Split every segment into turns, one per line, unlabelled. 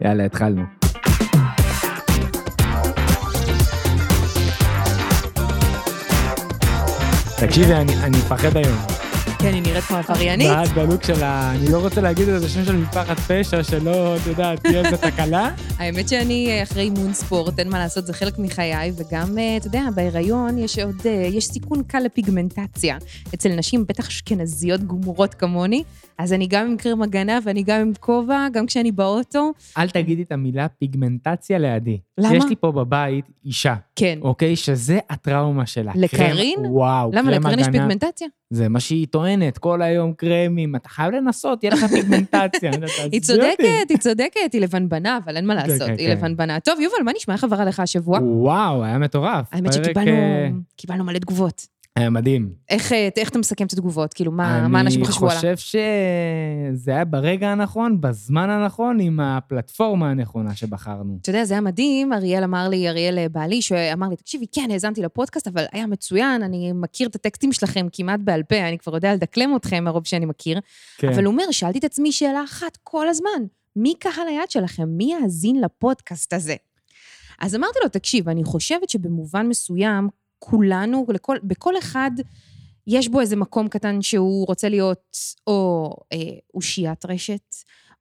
יאללה, התחלנו.
תקשיבי, אני אני מפחד היום.
כן, היא נראית כמו עבריינית.
ואת בלוק של ה... אני לא רוצה להגיד את השם של משפחת פשע, שלא, את יודעת, תהיה איזה תקלה.
האמת שאני אה, אחרי אימון ספורט, אין מה לעשות, זה חלק מחיי, וגם, אה, אתה יודע, בהיריון יש עוד, אה, יש סיכון קל לפיגמנטציה. אצל נשים, בטח אשכנזיות גמורות כמוני, אז אני גם עם קרם הגנה ואני גם עם כובע, גם כשאני באוטו.
אל תגידי את המילה פיגמנטציה לידי.
למה?
יש לי פה בבית אישה,
כן.
אוקיי? שזה הטראומה שלה. קרם-
לקרין?
וואו,
למה
קרם
לקרן יש
הגנה.
פיגמנטציה?
זה מה שהיא טוענת, כל היום קרמים, אתה חייב לנסות, תהיה לך פיגמנטציה. אני יודעת,
היא
תעזבי אותי.
צודקת, היא צודקת, היא לבנבנה, אבל אין מה
כן,
לעשות,
כן,
היא
כן.
לבנבנה. טוב, יובל, מה נשמע? איך עבר עליך השבוע?
וואו, היה מטורף.
האמת
פרק,
שקיבלנו
אה,
קיבלנו מלא תגובות.
היה מדהים.
איך אה, איך אתה מסכם את התגובות? כאילו, מה מה אנשים חשבו עליו?
אני חושב שזה היה ברגע הנכון, בזמן הנכון, עם הפלטפורמה הנכונה שבחרנו.
אתה יודע, זה היה מדהים, אריאל אמר לי, אריאל אה, בעלי, שאמר לי, תקשיבי, כן, האזנתי לפודקאסט, אבל היה מצוין, אני מכיר את הטקסטים שלכם כמעט בעל פה, אני כבר יודע לדקלם אתכם מרוב שאני מכיר.
כן.
אבל הוא אומר, שאלתי את עצמי שאלה אחת כל הזמן, מי קהל היעד שלכם? מי יאזין לפודקאסט הזה? אז אמרתי לו, תקשיב, אני חושבת שבמובן מסוים, כולנו, לכל, בכל אחד יש בו איזה מקום קטן שהוא רוצה להיות או אה, אושיית רשת,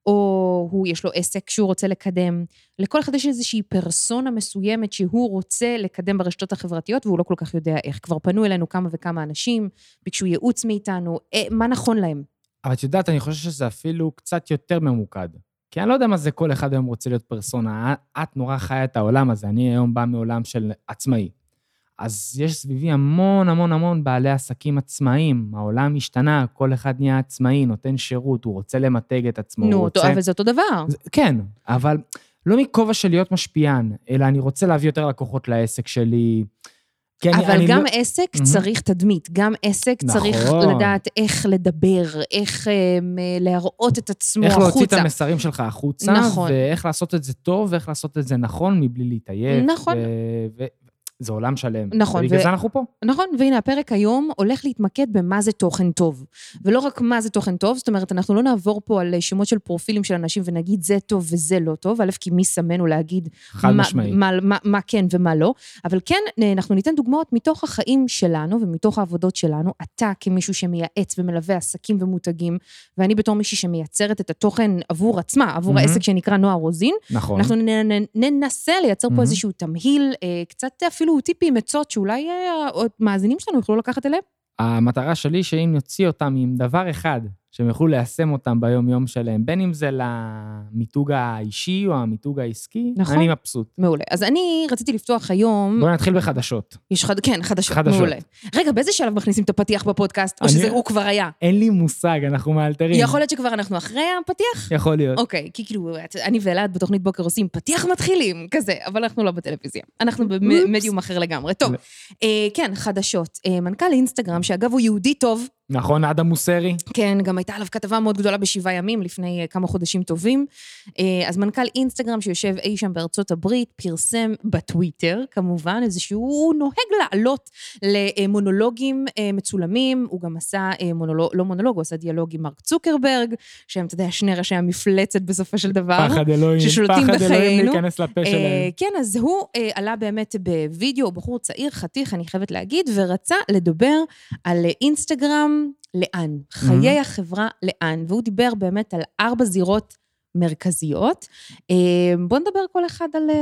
או הוא, יש לו עסק שהוא רוצה לקדם. לכל אחד יש איזושהי פרסונה מסוימת שהוא רוצה לקדם ברשתות החברתיות, והוא לא כל כך יודע איך. כבר פנו אלינו כמה וכמה אנשים, ביקשו ייעוץ מאיתנו, אה, מה נכון להם.
אבל את יודעת, אני חושב שזה אפילו קצת יותר ממוקד. כי אני לא יודע מה זה כל אחד היום רוצה להיות פרסונה. את נורא חיה את העולם הזה, אני היום בא מעולם של עצמאי. אז יש סביבי המון המון המון בעלי עסקים עצמאיים. העולם השתנה, כל אחד נהיה עצמאי, נותן שירות, הוא רוצה למתג את עצמו, הוא
נו,
רוצה...
אותו, אבל זה אותו דבר.
זה- כן, אבל לא מכובע של להיות משפיען, אלא אני רוצה להביא יותר לקוחות לעסק שלי. כי אני-
אבל
אני
גם
לא-
עסק
מהמם.
צריך תדמית, גם עסק צריך
נכון.
לדעת איך לדבר, איך אמ, להראות את עצמו
איך להוציא את
החוצה.
המסרים שלך החוצה,
נכון.
ואיך לעשות את זה טוב, ואיך לעשות את זה נכון מבלי להתעייף.
נכון.
ו... ו... זה עולם שלם.
נכון,
ובגלל
ו-
זה אנחנו פה.
נכון, והנה הפרק היום הולך להתמקד במה זה תוכן טוב. ולא רק מה זה תוכן טוב, זאת אומרת, אנחנו לא נעבור פה על שמות של פרופילים של אנשים ונגיד זה טוב וזה לא טוב, א', כי מי שמנו להגיד
חד
מה,
משמעית.
מה, מה, מה כן ומה לא, אבל כן, אה, אנחנו ניתן דוגמאות מתוך החיים שלנו ומתוך העבודות שלנו. אתה כמישהו שמייעץ ומלווה עסקים ומותגים, ואני בתור מישהי שמייצרת את התוכן עבור עצמה, עבור
מהמם.
העסק שנקרא נוער רוזין,
נכון.
אנחנו נ- נ- ננסה לייצר
מהמם.
פה איזשהו תמהיל, אה, קצת אפילו טיפים, עצות, שאולי אה, המאזינים שלנו יוכלו לקחת אליהם.
המטרה שלי שאם נוציא אותם עם דבר אחד, שהם יוכלו ליישם אותם ביום-יום שלהם, בין אם זה למיתוג האישי או המיתוג העסקי,
נכון.
אני מבסוט.
מעולה. אז אני רציתי לפתוח היום...
בואו נתחיל בחדשות.
יש חד... כן, חדשות,
חדשות.
מעולה. רגע, באיזה שלב מכניסים את הפתיח בפודקאסט? או
אני-
שזה הוא כבר היה?
אין לי מושג, אנחנו מאלתרים.
יכול להיות שכבר אנחנו אחרי הפתיח?
יכול להיות.
אוקיי, כי כאילו, את- אני ואלעד בתוכנית בוקר עושים פתיח מתחילים, כזה, אבל אנחנו לא בטלוויזיה. אנחנו במדיום אחר לגמרי. טוב,
לא.
אה, כן, חדשות. אה, מנכ"ל אינסטגרם, שאגב, הוא יהודי טוב,
נכון, אדם מוסרי?
כן, גם הייתה עליו כתבה מאוד גדולה בשבעה ימים, לפני אה, כמה חודשים טובים. אה, אז מנכ"ל אינסטגרם שיושב אי שם בארצות הברית, פרסם בטוויטר, כמובן, איזה שהוא נוהג לעלות למונולוגים אה, מצולמים, הוא גם עשה אה, מונולוג, לא מונולוג, הוא עשה דיאלוג עם מרק צוקרברג, שהם, אתה יודע, שני ראשי המפלצת בסופו של דבר.
פחד אלוהים,
ששולטים
פחד אלוהים
בחיינו.
להיכנס לפה
אה,
שלהם.
כן, אז הוא אה, עלה באמת בווידאו, הוא בחור צעיר, חתיך, אני חייבת להגיד, ורצה לדבר על אה, אינסטגרם לאן,
Mm-hmm.
חיי החברה לאן, והוא דיבר באמת על ארבע זירות מרכזיות. אה, בואו נדבר כל אחד על... אה,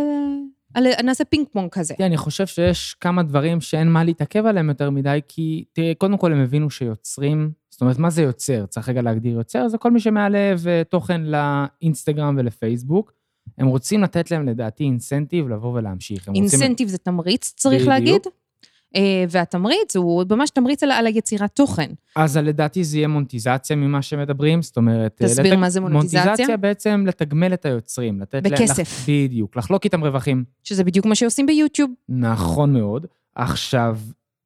על- נעשה פינג פונג כזה.
תראה, כן, אני חושב שיש כמה דברים שאין מה להתעכב עליהם יותר מדי, כי תראה, קודם כל הם הבינו שיוצרים, זאת אומרת, מה זה יוצר? צריך רגע להגדיר יוצר, זה כל מי שמעלב אה, תוכן לאינסטגרם ולפייסבוק. הם רוצים לתת להם, לדעתי, אינסנטיב לבוא ולהמשיך. הם רוצים-
אינסנטיב זה תמריץ, צריך
בדיוק.
להגיד. אה, והתמריץ הוא ממש תמריץ על, על היצירת תוכן.
אז לדעתי זה יהיה מונטיזציה ממה שמדברים, זאת אומרת... אה,
תסביר
לתג-
מה זה מונטיזציה.
מונטיזציה בעצם לתגמל את היוצרים, לתת... להם-
בכסף.
לח- בדיוק, לחלוק איתם רווחים.
שזה בדיוק מה שעושים ביוטיוב.
נכון מאוד. עכשיו,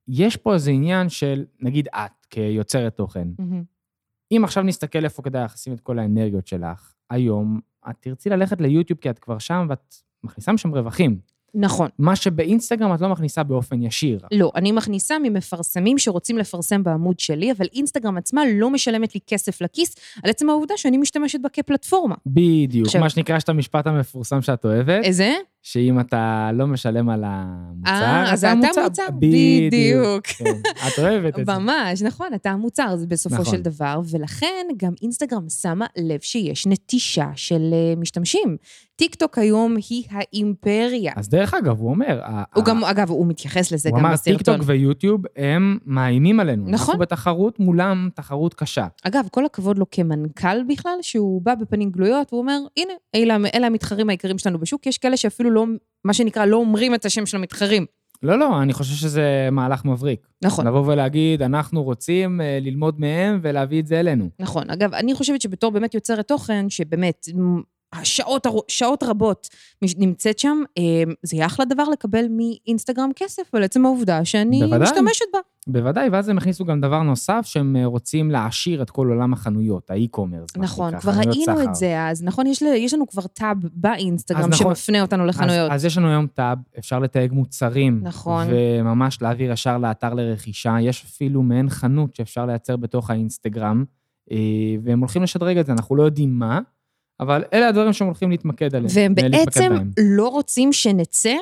יש פה איזה עניין של, נגיד את, כיוצרת תוכן, אם עכשיו נסתכל איפה כדאי לך לשים את כל האנרגיות שלך, היום את תרצי ללכת ליוטיוב כי את כבר שם ואת מכניסה משם רווחים.
נכון.
מה שבאינסטגרם את לא מכניסה באופן ישיר.
לא, אני מכניסה ממפרסמים שרוצים לפרסם בעמוד שלי, אבל אינסטגרם עצמה לא משלמת לי כסף לכיס, על עצם העובדה שאני משתמשת בה כפלטפורמה.
בדיוק.
עכשיו- אה,
מה שנקרא, יש את המשפט המפורסם שאת אוהבת,
איזה?
שאם אתה לא משלם על המוצר,
אה, אז אתה מוצר? בדיוק.
כן, את אוהבת את זה.
ממש, נכון, אתה המוצר זה בסופו
נכון.
של דבר, ולכן גם אינסטגרם שמה לב שיש נטישה של אה, משתמשים. טיק טוק היום היא האימפריה.
אז דרך אגב, הוא אומר, ה-
הוא
ה-
גם, אגב, הוא מתייחס לזה
הוא
גם
אמר, טיק
בסרטון.
טוק ויוטיוב הם מאיימים עלינו.
נכון.
אנחנו בתחרות מולם, תחרות קשה.
אגב, כל הכבוד לו כמנכ"ל בכלל, שהוא בא בפנים גלויות, הוא אומר, הנה, אלה, אלה המתחרים העיקריים שלנו בשוק, יש כאלה שאפילו לא, מה שנקרא, לא אומרים את השם של המתחרים.
לא, לא, אני חושב שזה מהלך מבריק.
נכון.
לבוא ולהגיד, אנחנו רוצים אה, ללמוד מהם ולהביא את זה אלינו.
נכון. אגב, אני חושבת שבתור באמת יוצרת תוכן, שבאמת, מ, השעות, הרו- שעות רבות מש- נמצאת שם, אמ, זה יהיה אחלה דבר לקבל מאינסטגרם כסף, על עצם העובדה שאני
בוודאי.
משתמשת בה.
בוודאי, ואז הם הכניסו גם דבר נוסף, שהם אה, רוצים להעשיר את כל עולם החנויות, האי-קומרס. מה
נכון,
שנקרא,
כבר
חנויות
ראינו
סחר.
את זה אז, נכון, יש, ל- יש לנו כבר טאב באינסטגרם
אז נכון.
שמפנה אותנו לחנויות.
אז, אז יש לנו היום טאב, אפשר לתייג מוצרים.
נכון.
וממש להעביר ישר לאתר לרכישה. יש אפילו מעין חנות שאפשר לייצר בתוך האינסטגרם, אה, והם הולכים לשדרג את זה, אנחנו לא יודעים מה, אבל אלה הדברים שהם הולכים להתמקד עליהם.
והם
להתמקד
בעצם
לא, בהם.
לא רוצים שנצא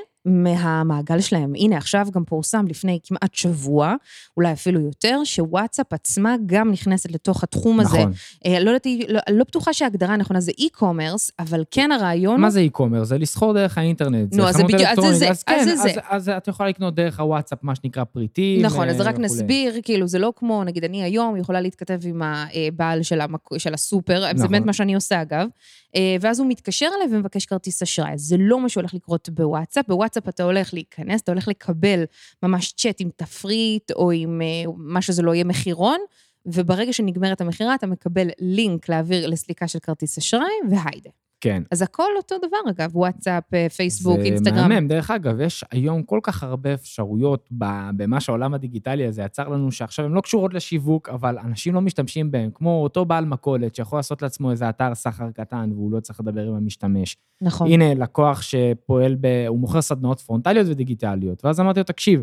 מהמעגל שלהם. הנה, עכשיו גם פורסם לפני כמעט שבוע, אולי אפילו יותר, שוואטסאפ עצמה גם נכנסת לתוך התחום הזה.
נכון.
אה, לא יודעת, לא, לא בטוחה שההגדרה הנכונה זה e-commerce, אבל כן הרעיון...
מה זה e-commerce? זה לסחור דרך האינטרנט.
נו, אז זה
חנות
בדיוק- אז זה
אלקטרונית.
זה,
אז
אז
כן,
זה
אז,
זה.
אז את יכולה לקנות דרך הוואטסאפ, מה שנקרא פריטים.
נכון, אז
אה,
רק
וכולי.
נסביר, כאילו, זה לא כמו, נגיד, אני היום יכולה להתכתב עם הבעל של, המק... של הסופר, נכון. זה
נכון.
באמת מה שאני עושה, אגב, אה, ואז הוא מתקשר אליי ומבקש כרטיס אשראי. אז זה לא מה שהולך לקרות בוואטסאפ, בוואטסאפ אתה הולך להיכנס, אתה הולך לקבל ממש צ'אט עם תפריט, או עם אה, מה שזה לא יהיה מחירון, וברגע שנגמרת המכירה, אתה מקבל לינק להעביר לסליקה של כרטיס אשראי, והיידה.
כן.
אז הכל אותו דבר, אגב, וואטסאפ, אה, פייסבוק,
זה
אינסטגרם.
מהמם. דרך אגב, יש היום כל כך הרבה אפשרויות ב- במה שהעולם הדיגיטלי הזה יצר לנו, שעכשיו הן לא קשורות לשיווק, אבל אנשים לא משתמשים בהן, כמו אותו בעל מכולת שיכול לעשות לעצמו איזה אתר סחר קטן והוא לא צריך לדבר עם המשתמש.
נכון.
הנה, לקוח שפועל ב... הוא מוכר סדנאות פרונטליות ודיגיטליות, ואז אמרתי לו, תקשיב,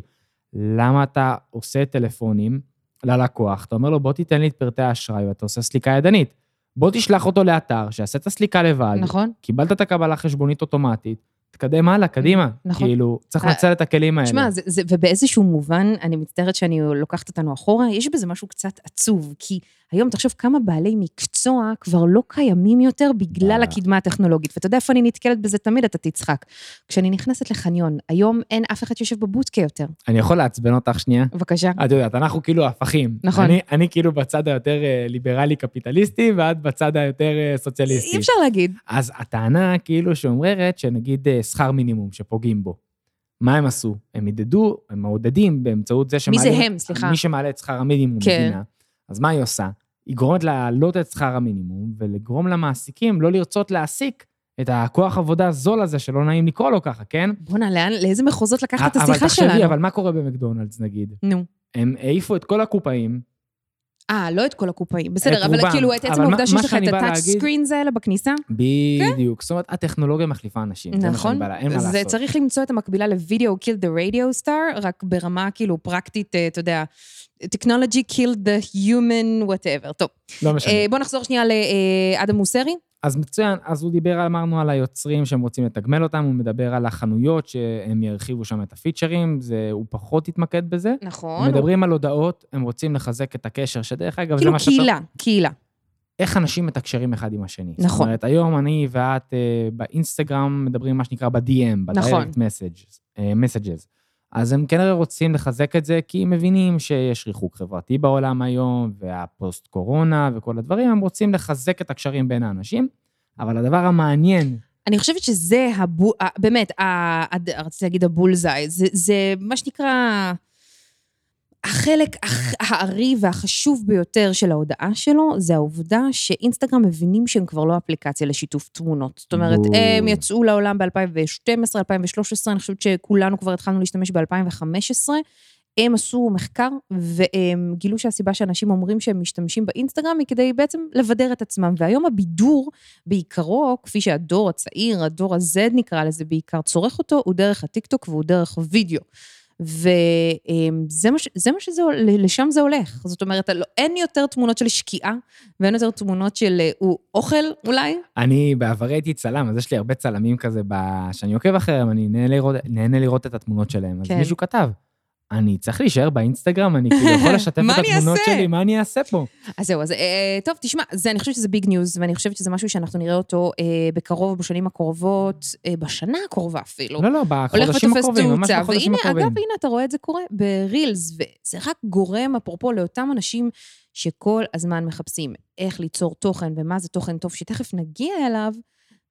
למה אתה עושה טלפונים ללקוח? אתה אומר לו, בוא תיתן לי את פרטי האשראי ואתה עושה סליקה ידנית. בוא תשלח אותו לאתר, שיעשה את הסליקה לבד,
נכון.
קיבלת את הקבלה חשבונית אוטומטית, תתקדם הלאה, קדימה.
נכון.
נכון. כאילו, צריך
אה,
לנצל את הכלים האלה.
תשמע, זה, זה, ובאיזשהו מובן, אני מצטערת שאני לוקחת אותנו אחורה, יש בזה משהו קצת עצוב, כי היום תחשוב כמה בעלי מקצוע כבר לא קיימים יותר בגלל
אה.
הקדמה הטכנולוגית. ואתה יודע איפה אני נתקלת בזה תמיד, אתה תצחק. כשאני נכנסת לחניון, היום אין אף אחד שיושב בבודקה יותר.
אני יכול לעצבן אותך שנייה?
בבקשה.
את יודעת, אנחנו כאילו הפכים.
נכון.
אני, אני כאילו בצד היותר אה, ליברלי-קפיטליסטי, ואת בצד היותר אה, סוציאליסטי.
אי אפשר להגיד.
אז הטענה כאילו שאומרת שנגיד אה, שכר מינימום שפוגעים בו. מה הם עשו? הם עידדו, הם מעודדים באמצעות זה
מי
שמעלים...
זה הם? סליחה.
מי שמעלה את שכר המינימום
כן.
כן. במדינה. אז מה היא עושה? היא גורמת להעלות את שכר המינימום ולגרום למעסיקים לא לרצות להעסיק את הכוח עבודה הזול הזה, שלא נעים לקרוא לו ככה, כן?
בואנה, לאן, לאיזה מחוזות לקחת את השיחה
אה, אבל תחשבי,
שלנו?
אבל מה קורה במקדונלדס נגיד?
נו.
הם העיפו את כל הקופאים,
אה, לא את כל הקופאים. בסדר,
את
אבל
רובם.
כאילו, את עצם
אבל מה-
העובדה
מה
שיש לך
שאני
את
בא
הטאצ'
להגיד-
סקרינס האלה בכניסה,
בדיוק. זאת אומרת, הטכנולוגיה מחליפה אנשים. זה מה שאני
כן. נכון.
בא לה- אין מה
זה
לעשות.
צריך למצוא את המקבילה ל-video killed the radio star, רק ברמה כאילו פרקטית, אה, אתה יודע, technology killed the human whatever. טוב,
לא משנה.
אה, בוא נחזור שנייה לאדם מוסרי.
אז מצוין, אז הוא דיבר, אמרנו, על היוצרים שהם רוצים לתגמל אותם, הוא מדבר על החנויות שהם ירחיבו שם את הפיצ'רים, זה, הוא פחות התמקד בזה.
נכון.
הם מדברים על הודעות, הם רוצים לחזק את הקשר, שדרך אגב, זה
כאילו
מה שאתה...
קהילה, קהילה.
איך אנשים מתקשרים אחד עם השני. זאת
נכון.
אומרת, היום אני ואת אה, באינסטגרם מדברים, מה שנקרא, ב-DM,
נכון.
ב-direct messages, אה, messages. אז הם כנראה רוצים לחזק את זה, כי הם מבינים שיש ריחוק חברתי בעולם היום, והפוסט-קורונה וכל הדברים, הם רוצים לחזק את הקשרים בין האנשים. אבל הדבר המעניין,
אני חושבת שזה הבו... אה, באמת, ה- הד- רציתי להגיד הבולזאי, זה, זה מה שנקרא החלק הח- הארי והחשוב ביותר של ההודעה שלו, זה העובדה שאינסטגרם מבינים שהם כבר לא אפליקציה לשיתוף תמונות. זאת אומרת,
בול.
הם יצאו לעולם ב-2012, 2013, אני חושבת שכולנו כבר התחלנו להשתמש ב-2015. הם עשו מחקר, והם גילו שהסיבה שאנשים אומרים שהם משתמשים באינסטגרם היא כדי בעצם לבדר את עצמם. והיום הבידור, בעיקרו, כפי שהדור הצעיר, הדור ה-Z נקרא לזה בעיקר, צורך אותו, הוא דרך הטיקטוק והוא דרך וידאו. וזה מה, ש- זה מה שזה, הול- לשם זה הולך. זאת אומרת, לא, אין יותר תמונות של שקיעה, ואין יותר תמונות של אה, הוא אוכל אולי.
אני בעברי הייתי צלם, אז יש לי הרבה צלמים כזה, ב- שאני עוקב אחריהם, אני נהנה לראות, נהנה לראות את התמונות שלהם. אז
כן.
מישהו כתב, אני צריך להישאר באינסטגרם, אני כאילו יכול לשתף
מה
את
אני
התמונות
אעשה?"
שלי, מה אני אעשה פה?
אז זהו, אז אה, טוב, תשמע, זה, אני חושבת שזה ביג ניוז, ואני חושבת שזה משהו שאנחנו נראה אותו אה, בקרוב, בשנים הקרובות, אה, בשנה הקרובה אפילו.
לא, לא,
הולך
בחודשים
ותופס
הקרובים, ממש
תאוצה.
בחודשים
והנה, אגב,
הקרובים.
הנה, אתה רואה את זה קורה ברילס, וזה רק גורם, אפרופו, לאותם אנשים שכל הזמן מחפשים איך ליצור תוכן ומה זה תוכן טוב, שתכף נגיע אליו,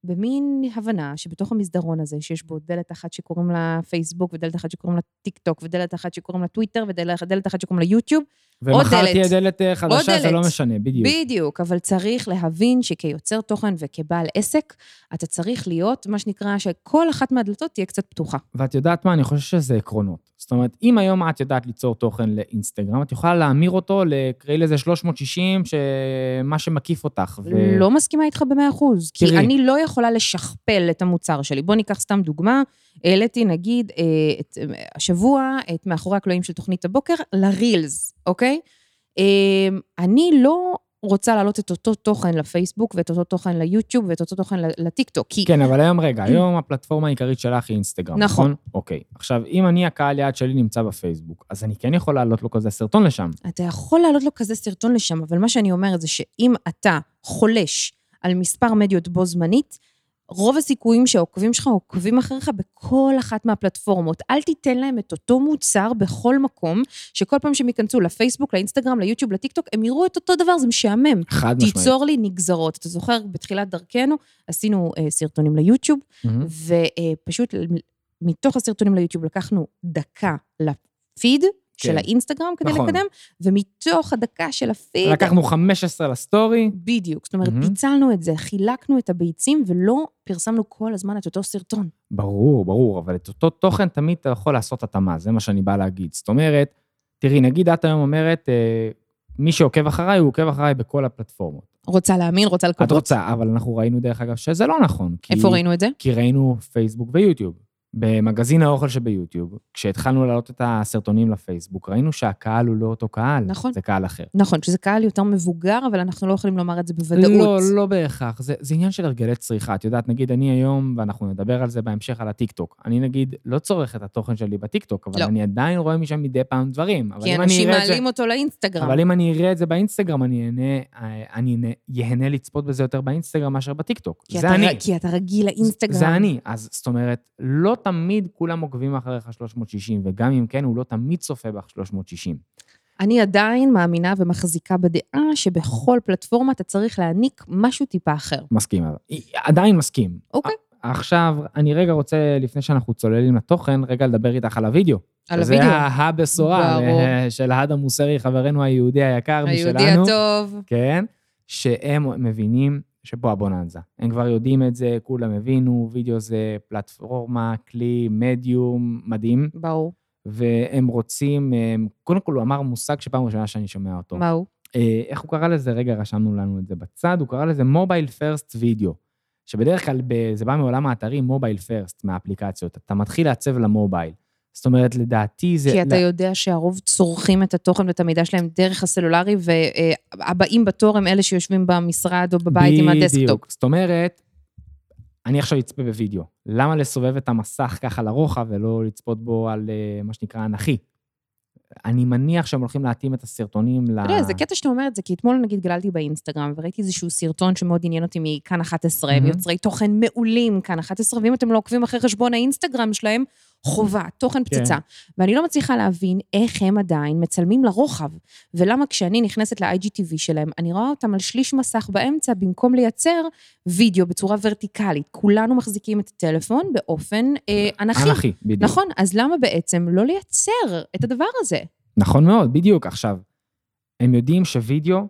במין הבנה שבתוך המסדרון הזה, שיש בו דלת אחת שקוראים לה פייסבוק, ודלת אחת שקוראים לה טיק טוק, ודלת אחת שקוראים לה טוויטר, ודלת אחת שקוראים לה יוטיוב,
ומחר
עוד
תהיה
דלת.
דלת אה, חדשה, זה
דלת.
לא משנה, בדיוק.
בדיוק, אבל צריך להבין שכיוצר תוכן וכבעל עסק, אתה צריך להיות, מה שנקרא, שכל אחת מהדלתות תהיה קצת פתוחה.
ואת יודעת מה? אני חושב שזה עקרונות. זאת אומרת, אם היום את יודעת ליצור תוכן לאינסטגרם, את יכולה להמיר אותו לקראי לזה 360, שמה שמקיף אותך. ו-
לא מסכימה איתך במאה אחוז, כי
תראי.
אני לא יכולה לשכפל את המוצר שלי. בוא ניקח סתם דוגמה, העליתי נגיד אה, את, אה, השבוע את מאחורי הקלעים של תוכנית הבוקר לרילס, אוקיי? אה, אני לא רוצה להעלות את אותו תוכן לפייסבוק ואת אותו תוכן ליוטיוב ואת אותו תוכן לטיקטוק, כי
כן, אבל היום, רגע, היום הפלטפורמה העיקרית שלך היא אינסטגרם,
נכון.
נכון? אוקיי. עכשיו, אם אני, הקהל יעד שלי נמצא בפייסבוק, אז אני כן יכול להעלות לו כזה סרטון לשם.
אתה יכול להעלות לו כזה סרטון לשם, אבל מה שאני אומרת זה שאם אתה חולש על מספר מדיות בו זמנית, רוב הסיכויים שהעוקבים שלך עוקבים אחריך בכל אחת מהפלטפורמות. אל תיתן להם את אותו מוצר בכל מקום, שכל פעם שהם ייכנסו לפייסבוק, לאינסטגרם, ליוטיוב, לטיקטוק, הם יראו את אותו דבר, זה משעמם.
חד משמעית.
תיצור לי נגזרות. אתה זוכר, בתחילת דרכנו עשינו אה, סרטונים ליוטיוב,
מהמם.
ופשוט מתוך הסרטונים ליוטיוב לקחנו דקה לפיד של האינסטגרם כדי
כן. נכון.
לקדם, ומתוך הדקה של הפיד...
לקחנו 15 לסטורי,
בדיוק, זאת אומרת,
מהמם.
פיצלנו את זה, חילקנו את הביצים ולא פרסמנו כל הזמן את אותו סרטון.
ברור, ברור, אבל את אותו תוכן תמיד אתה יכול לעשות התאמה, זה מה שאני בא להגיד. זאת אומרת, תראי, נגיד את היום אומרת, אה, מי שעוקב אחריי, הוא עוקב אחריי בכל הפלטפורמות.
רוצה להאמין, רוצה לקוות.
את רוצה, אבל אנחנו ראינו, דרך אגב, שזה לא נכון. כי-
איפה ראינו את זה?
כי ראינו פייסבוק ויוטיוב. במגזין האוכל שביוטיוב, כשהתחלנו להעלות את הסרטונים לפייסבוק, ראינו שהקהל הוא לא אותו קהל.
נכון.
זה קהל אחר.
נכון, שזה קהל יותר מבוגר, אבל אנחנו לא יכולים לומר את זה בוודאות.
לא, לא בהכרח. זה, זה עניין של הרגלי צריכה. את יודעת, נגיד אני היום, ואנחנו נדבר על זה בהמשך, על הטיקטוק. אני נגיד לא צורך את התוכן שלי בטיקטוק, אבל
לא.
אני עדיין רואה משם מדי פעם דברים. אבל
כי
אם אני
אנשים
אראה את זה-
מעלים אותו לאינסטגרם.
אבל אם אני אראה את זה באינסטגרם, אני אהנה, אה, אני אהנה- יהנה לצפות בזה יותר באינסטגרם מאשר בטיקטוק.
כי
זה
אתה-
אני.
כי אתה רגיל לאינסטגרם.
זה אני. אז זאת אומרת, לא תמיד כולם עוקבים אחריך 360, וגם אם כן, הוא לא תמיד צופה בך 360.
אני עדיין מאמינה ומחזיקה בדעה שבכל פלטפורמה אתה צריך להעניק משהו טיפה אחר.
מסכים, אבל- עדיין מסכים.
אוקיי.
ע- עכשיו, אני רגע רוצה, לפני שאנחנו צוללים לתוכן, רגע לדבר איתך על הוידאו.
על
זה
הוידאו.
הבשורה
ברור.
אה, של אהד המוסרי, חברנו היהודי היקר משלנו.
היהודי הטוב.
כן, שהם מבינים שפה הבוננזה. הם כבר יודעים את זה, כולם הבינו, וידאו זה פלטפורמה, כלי, מדיום, מדהים,
ברור.
והם רוצים, הם, קודם כל הוא אמר מושג שפעם ראשונה שאני שומע אותו.
מה הוא?
אה, איך הוא קרא לזה? רגע, רשמנו לנו את זה בצד, הוא קרא לזה מובייל פרסט וידאו, שבדרך כלל ב- זה בא מעולם האתרים מובייל פרסט, מהאפליקציות. אתה מתחיל לעצב למובייל. זאת אומרת, לדעתי זה...
כי אתה
ל-
יודע שהרוב צורכים את התוכן ואת המידע שלהם דרך הסלולרי, והבאים בתור הם אלה שיושבים במשרד או בבית עם הדסקטופ.
בדיוק. זאת אומרת, אני עכשיו אצפה בווידאו. למה לסובב את המסך ככה לרוחב ולא לצפות בו על אה, מה שנקרא אנכי? אני מניח שהם הולכים להתאים את הסרטונים ל...
אתה יודע, זה קטע שאתה אומר את זה, כי אתמול נגיד גללתי באינסטגרם וראיתי איזשהו סרטון שמאוד עניין אותי מכאן 11, הם
מהמם.
יוצרי תוכן מעולים כאן 11, ואם אתם לא עוקבים אחרי חשבון האינסטגרם שלהם, חובה, תוכן
כן.
פצצה. ואני לא מצליחה להבין איך הם עדיין מצלמים לרוחב, ולמה כשאני נכנסת ל-IGTV שלהם, אני רואה אותם על שליש מסך באמצע, במקום לייצר וידאו בצורה ורטיקלית. כולנו מחזיקים את הטלפון באופן אה, אנכי.
אנכי, בדיוק.
נכון, אז למה בעצם לא לייצר את הדבר הזה?
נכון מאוד, בדיוק. עכשיו, הם יודעים שווידאו הוא,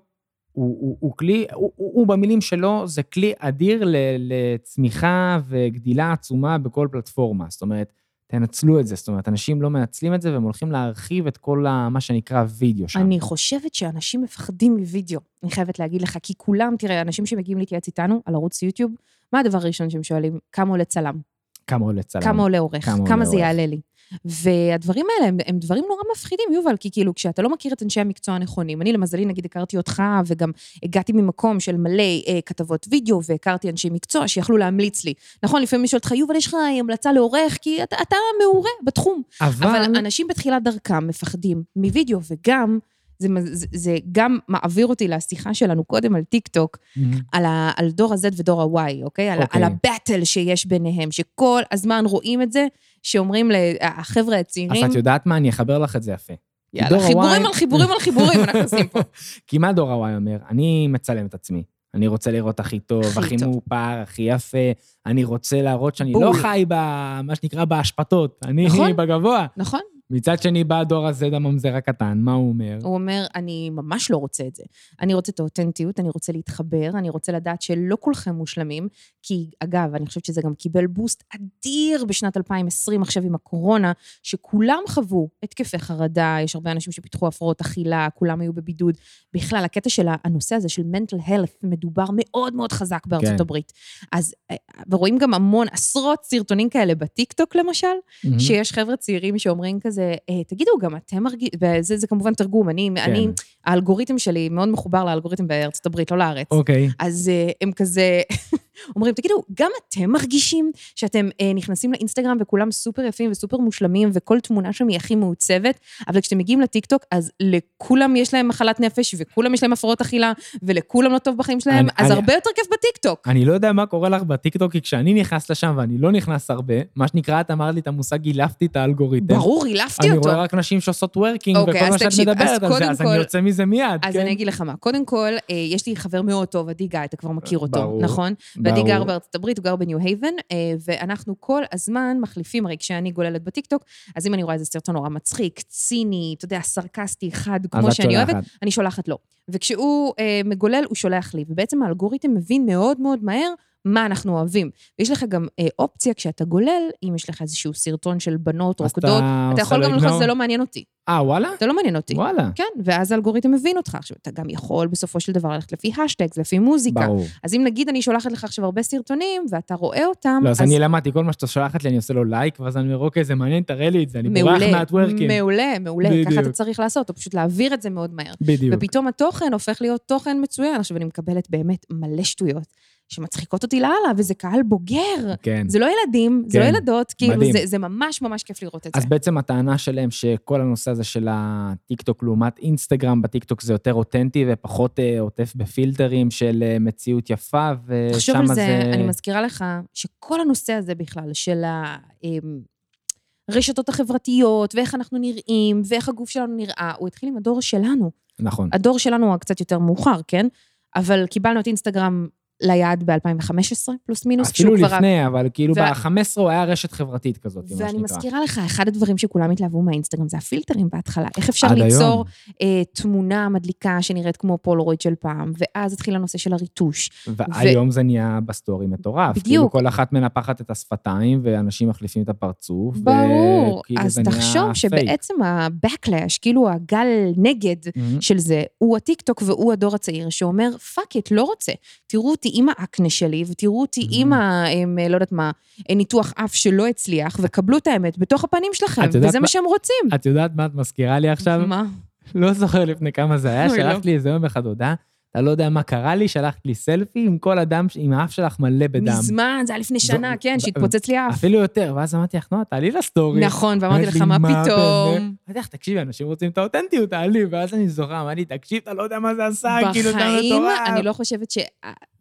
הוא, הוא כלי, הוא, הוא, הוא במילים שלו, זה כלי אדיר ל, לצמיחה וגדילה עצומה בכל פלטפורמה. זאת אומרת, תנצלו את זה. זאת אומרת, אנשים לא מנצלים את זה, והם הולכים להרחיב את כל ה, מה שנקרא וידאו שם.
אני חושבת שאנשים מפחדים מווידאו, אני חייבת להגיד לך, כי כולם, תראה, אנשים שמגיעים להתייעץ איתנו על ערוץ יוטיוב, מה הדבר הראשון שהם שואלים? כמה עולה צלם?
כמה עולה צלם?
כמה עולה עורך?
כמה עולה
כמה זה
עורך?
יעלה לי? והדברים האלה הם, הם דברים נורא מפחידים, יובל, כי כאילו, כשאתה לא מכיר את אנשי המקצוע הנכונים, אני למזלי, נגיד, הכרתי אותך, וגם הגעתי ממקום של מלא אה, כתבות וידאו, והכרתי אנשי מקצוע שיכלו להמליץ לי. נכון, לפעמים מישהו שואל אותך, יובל, יש לך אה, המלצה לעורך, כי אתה, אתה מעורה בתחום.
אבל...
אבל אנשים בתחילת דרכם מפחדים מווידאו, וגם, זה, מ- זה, זה גם מעביר אותי לשיחה שלנו קודם על טיק טוק,
אבל...
על, ה, על דור ה-Z ודור ה-Y, אוקיי? על, ה-
אוקיי.
על הבטל שיש ביניהם, שכל הזמן רואים את זה, שאומרים לחבר'ה הצעירים,
אז את יודעת מה? אני אחבר לך את זה יפה. כי
יאללה,
דור
חיבורים
ה-Y-
על חיבורים על חיבורים אנחנו עושים פה.
כי מה דור הוואי אומר? אני מצלם את עצמי. אני רוצה לראות הכי טוב,
הכי
הכי,
טוב.
מאופר, הכי יפה. אני רוצה להראות שאני
בול.
לא חי ב... מה שנקרא בהשפתות. אני
נכון.
בגבוה.
נכון?
מצד שני, בא הדור הזה, הממזר הקטן, מה הוא אומר?
הוא אומר, אני ממש לא רוצה את זה. אני רוצה את האותנטיות, אני רוצה להתחבר, אני רוצה לדעת שלא כולכם מושלמים, כי אגב, אני חושבת שזה גם קיבל בוסט אדיר בשנת 2020, עכשיו עם הקורונה, שכולם חוו התקפי חרדה, יש הרבה אנשים שפיתחו הפרעות אכילה, כולם היו בבידוד. בכלל, הקטע של הנושא הזה של mental health מדובר מאוד מאוד חזק בארצות
כן.
הברית. אז, אה, ורואים גם המון, עשרות סרטונים כאלה בטיקטוק למשל,
מהמם.
שיש חבר'ה צעירים שאומרים כזה, "אה, תגידו, גם אתם מרגישים, וזה זה כמובן תרגום, אני, כן. אני, האלגוריתם שלי מאוד מחובר לאלגוריתם בארצות הברית, לא לארץ.
אוקיי.
אז אה, הם כזה אומרים, תגידו, גם אתם מרגישים שאתם אה, נכנסים לאינסטגרם וכולם סופר יפים וסופר מושלמים, וכל תמונה שם היא הכי מעוצבת, אבל כשאתם מגיעים לטיקטוק, אז לכולם יש להם מחלת נפש, וכולם יש להם הפרעות אכילה, ולכולם לא טוב בחיים שלהם,
אני-
אז
אני-
הרבה יותר כיף בטיקטוק.
אני לא יודע מה קורה לך בטיקטוק, כי כשאני נכנס לשם, ואני לא נכנס הרבה, מה שנקרא, את אמרת לי את המושג, גילפתי את האלגוריתם.
ברור, הילפתי
אני
אותו.
רואה רק נשים שעושות וורקינג,
אוקיי,
וכל
אז
מה שאת
תקשיב, אז
מדברת על
קודם
זה, אז אני
כל-
יוצא מזה מיד,
אז
כן?
אני אגיד לך מה, קודם כל, אה, יש לי חבר מאוד טוב, עדי גיא, אתה כבר מכיר אותו,
אה, ברור.
נכון? ועדי גר
ברור.
בארצות הברית, הוא גר בניו הייבן, אה, ואנחנו כל הזמן מחליפים, הרי כשאני גוללת בטיקטוק, אז אם אני רואה איזה סרטון נורא מצחיק, ציני, אתה יודע, סרקסטי, חד,
אז
כמו
את
שאני אוהבת,
שולחת.
אני שולחת לו. וכשהוא אה, מגולל, הוא שולח לי. ובעצם האלגוריתם מבין מאוד מאוד מהר מה אנחנו אוהבים. ויש לך גם אה, אופציה כשאתה גולל, אם יש לך איזשהו סרטון של בנות,
אז
רוקדות, אתה
עושה
יכול
לו
גם ללחוץ,
איגנור?
זה לא מעניין אותי.
אה, וואלה?
זה לא מעניין אותי.
וואלה.
כן, ואז האלגוריתם מבין אותך. עכשיו, אתה גם יכול בסופו של דבר ללכת לפי השטגס, לפי מוזיקה. ברור.
ברור.
אז אם נגיד אני שולחת לך עכשיו הרבה סרטונים, ואתה רואה אותם,
לא, אז אני למדתי, כל מה שאתה שולחת לי, אני עושה לו לייק, ואז אני אומר, אוקיי, זה מעניין, תראה לי את זה, אני בורח
מעולה,
מהטוורקים.
מעולה, מעולה, ככה אתה
בדיוק.
צריך לעשות, או פשוט להעביר את זה מאוד מהר.
בדיוק.
ופתאום התוכן הופך להיות תוכן מצוין. עכשיו, אני מקבלת באמת מלא שטויות שמצחיקות אותי לאללה, וזה קהל בוגר.
כן.
זה לא ילדים, זה לא
כן,
ילדות, כאילו,
מדהים.
זה- זה ממש ממש כיף לראות את זה.
אז בעצם הטענה שלהם שכל הנושא הזה של הטיקטוק לעומת אינסטגרם, בטיקטוק זה יותר אותנטי ופחות אה, עוטף בפילטרים של אה, מציאות יפה,
תחשוב
ושם
על זה,
זה...
אני מזכירה לך שכל הנושא הזה בכלל, של אמ, הרשתות החברתיות, ואיך אנחנו נראים, ואיך הגוף שלנו נראה, הוא התחיל עם הדור שלנו.
נכון.
הדור שלנו הוא קצת יותר מאוחר, כן? אבל קיבלנו את אינסטגרם ליעד ב-2015, פלוס מינוס,
אפילו
כשהוא כבר-
לפני, אבל כאילו
ו-
ב-15 הוא היה רשת חברתית כזאת, מה
ואני
שנקרא.
מזכירה לך, אחד הדברים שכולם התלהבו מהאינסטגרם זה הפילטרים בהתחלה. איך אפשר
עד היום.
ליצור אה, תמונה מדליקה שנראית כמו פולרויד של פעם, ואז התחיל הנושא של הריטוש.
והיום זה נהיה בסטורי מטורף.
בדיוק.
כאילו כל אחת מנפחת את השפתיים, ואנשים מחליפים את הפרצוף. וכאילו
ברור, אז
כאילו זה נהיה
תחשוב
פייק.
שבעצם ה-backlash, כאילו הגל נגד
מהמם.
של זה, הוא הטיקטוק והוא הדור הצעיר שאומר, פאק איט, לא רוצה. תראו אותי עם האקנה שלי, ותראו אותי
Mm-hmm.
עם ה... עם, אה, לא יודעת מה, אה, ניתוח אף שלא הצליח, וקבלו את האמת בתוך הפנים שלכם,
את יודעת
וזה מה
מה-
שהם רוצים.
את יודעת מה את מזכירה לי עכשיו?
מה?
לא זוכר לפני כמה זה היה,
אוי, לא.
שלחת לי איזה יום אחד הודעה, אתה לא יודע מה קרה לי, שלחת לי סלפי עם כל הדם, ש- עם האף שלך מלא בדם.
מזמן, זה היה לפני
זו-
שנה, כן,
ו-
שהתפוצץ לי אף.
אפילו יותר, ואז אמרתי לך, נועה, תעלי לסטורי.
נכון, ואמרתי
אמרת לי,
לך, מה
"מה
פתאום?
באמת?" אמרתי לך, תקשיבי, אנשים רוצים את האותנטיות, תעלי, ואז אני זוכר, אמרתי, תקשיב, אתה לא יודע מה זה עשה, כאילו, אתה
בחיים,
מטורף.
אני לא חושבת ש...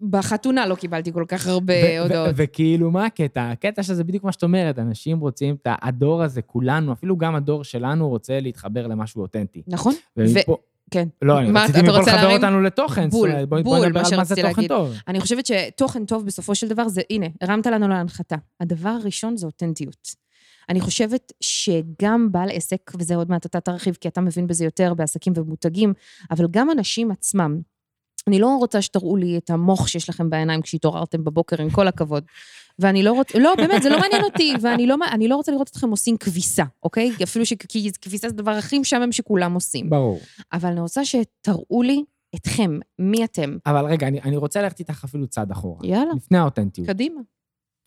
בחתונה לא קיבלתי כל כך הרבה
ו-
הודעות.
ו- וכאילו, מה הקטע? הקטע שזה בדיוק מה שאת אומרת, אנשים רוצים את ה- הדור הזה, כולנו, אפילו גם הדור שלנו רוצה להתחבר למשהו אותנטי.
נכון?
ומפה...
כן.
לא, אני
מה,
רציתי
אתה
מפה
רוצה
לחבר
להרים?
אותנו לתוכן, זאת
בול,
אומרת, בואי
בול,
בואי נדבר
מה
על מה זה
שרציתי
תוכן
להגיד.
טוב.
אני חושבת שתוכן טוב בסופו של דבר זה, הנה, הרמת לנו להנחתה. הדבר הראשון זה אותנטיות. אני חושבת שגם בעל עסק, וזה עוד מעט אתה תרחיב, כי אתה מבין בזה יותר בעסקים ובמותגים, אבל גם אנשים עצמם. אני לא רוצה שתראו לי את המוח שיש לכם בעיניים כשהתעוררתם בבוקר, עם כל הכבוד. ואני לא רוצה, לא, באמת, זה לא מעניין אותי, ואני לא, אני לא רוצה לראות אתכם עושים כביסה, אוקיי? אפילו שכביסה זה הדבר הכי משעמם שכולם עושים.
ברור.
אבל אני רוצה שתראו לי אתכם, מי אתם.
אבל רגע, אני, אני רוצה ללכת איתך אפילו צעד אחורה.
יאללה,
לפני האותנטיות. את
קדימה.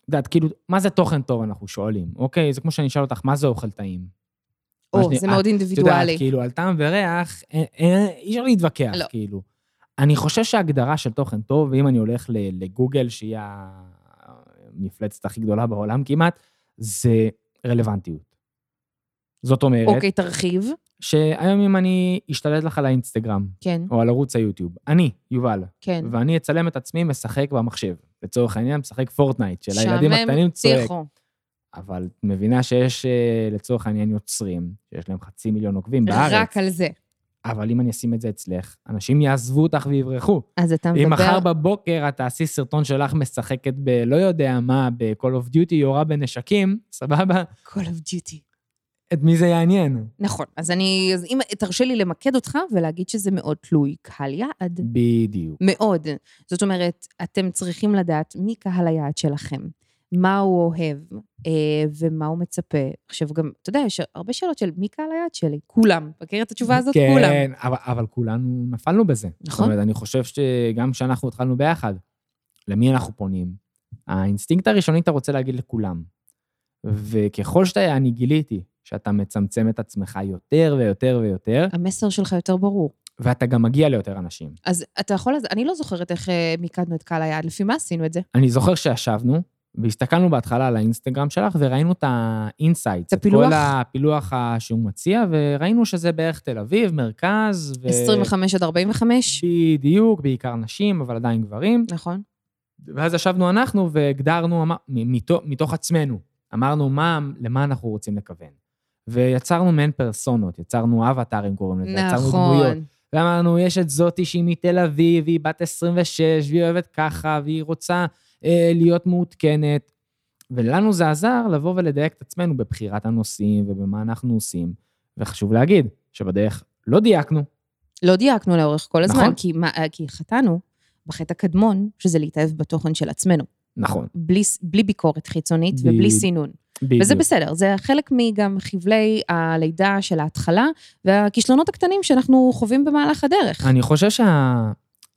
יודעת, כאילו, מה זה תוכן טוב אנחנו שואלים, אוקיי? זה כמו שאני אשאל אותך, מה זה אוכל טעים?
או,
אני-
זה
אה, את
מאוד
יודעת,
אינדיבידואלי.
כאילו, על טעם וריח, אה, אה, אי אפשר להתווכח,
לא.
כאילו. אני חושב שההגדרה של תוכן טוב, ואם אני הולך ל- לגוגל, שהיא המפלצת הכי גדולה בעולם כמעט, זה רלוונטיות. זאת אומרת,
אוקיי, תרחיב.
שהיום אם אני אשתלט לך על האינסטגרם,
כן,
או על ערוץ היוטיוב, אני, יובל,
כן.
ואני אצלם את עצמי משחק במחשב. לצורך העניין, משחק פורטנייט, של הילדים
שעמם,
הקטנים צועק.
תיכו.
אבל את מבינה שיש, אה, לצורך העניין, יוצרים, שיש להם חצי מיליון עוקבים בארץ.
רק על זה.
אבל אם אני אשים את זה אצלך, אנשים יעזבו אותך ויברחו.
אז אתה
אם מחר
מדבר...
בבוקר את תעשי סרטון שלך משחקת ב... לא יודע מה, ב-call of duty יורה בנשקים, סבבה?
Call of Duty.
את מי זה יעניין?
נכון, אז אני... אז אם תרשה לי למקד אותך ולהגיד שזה מאוד תלוי קהל יעד.
בדיוק.
מאוד. זאת אומרת, אתם צריכים לדעת מי קהל היעד שלכם, מה הוא אוהב אה, ומה הוא מצפה. עכשיו גם, אתה יודע, יש הרבה שאלות של מי קהל היעד שלי. כולם. מכיר את התשובה הזאת? כולם.
כן, אבל, אבל כולנו נפלנו בזה. זאת
נכון.
אומרת, אני חושב שגם כשאנחנו התחלנו ביחד, למי אנחנו פונים? האינסטינקט הראשוני, אתה רוצה להגיד לכולם. וככל שאתה, אני גיליתי שאתה מצמצם את עצמך יותר ויותר ויותר,
המסר שלך יותר ברור.
ואתה גם מגיע ליותר אנשים.
אז אתה יכול... לזה- אני לא זוכרת איך אה, מיקדנו את קהל היעד, לפי מה עשינו את זה?
אני זוכר שישבנו, והסתכלנו בהתחלה על האינסטגרם שלך, וראינו את האינסייטס, את
הפילוח?
כל הפילוח ה- שהוא מציע, וראינו שזה בערך תל אביב, מרכז, ו...
25 עד 45?
בדיוק, בעיקר נשים, אבל עדיין גברים.
נכון.
ואז ישבנו אנחנו והגדרנו אמר, מ- מתוך, מתוך עצמנו, אמרנו מה, למה אנחנו רוצים לכוון. ויצרנו מעין פרסונות, יצרנו אבטארים קוראים לזה, יצרנו דמויות.
נכון.
ואמרנו, יש את זאתי שהיא מתל אביב, והיא בת 26, והיא אוהבת ככה, והיא רוצה אה, להיות מעודכנת. ולנו זה עזר לבוא ולדייק את עצמנו בבחירת הנושאים ובמה אנחנו עושים. וחשוב להגיד שבדרך לא דייקנו,
לא דייקנו לאורך כל הזמן,
נכון.
כי מה- אה, כי חטאנו בחטא הקדמון, שזה להתאהב בתוכן של עצמנו.
נכון,
בלי, בלי ביקורת חיצונית
ב-
ובלי סינון.
בדיוק.
וזה בסדר, זה חלק מגם חבלי הלידה של ההתחלה והכישלונות הקטנים שאנחנו חווים במהלך הדרך.
אני חושב שה...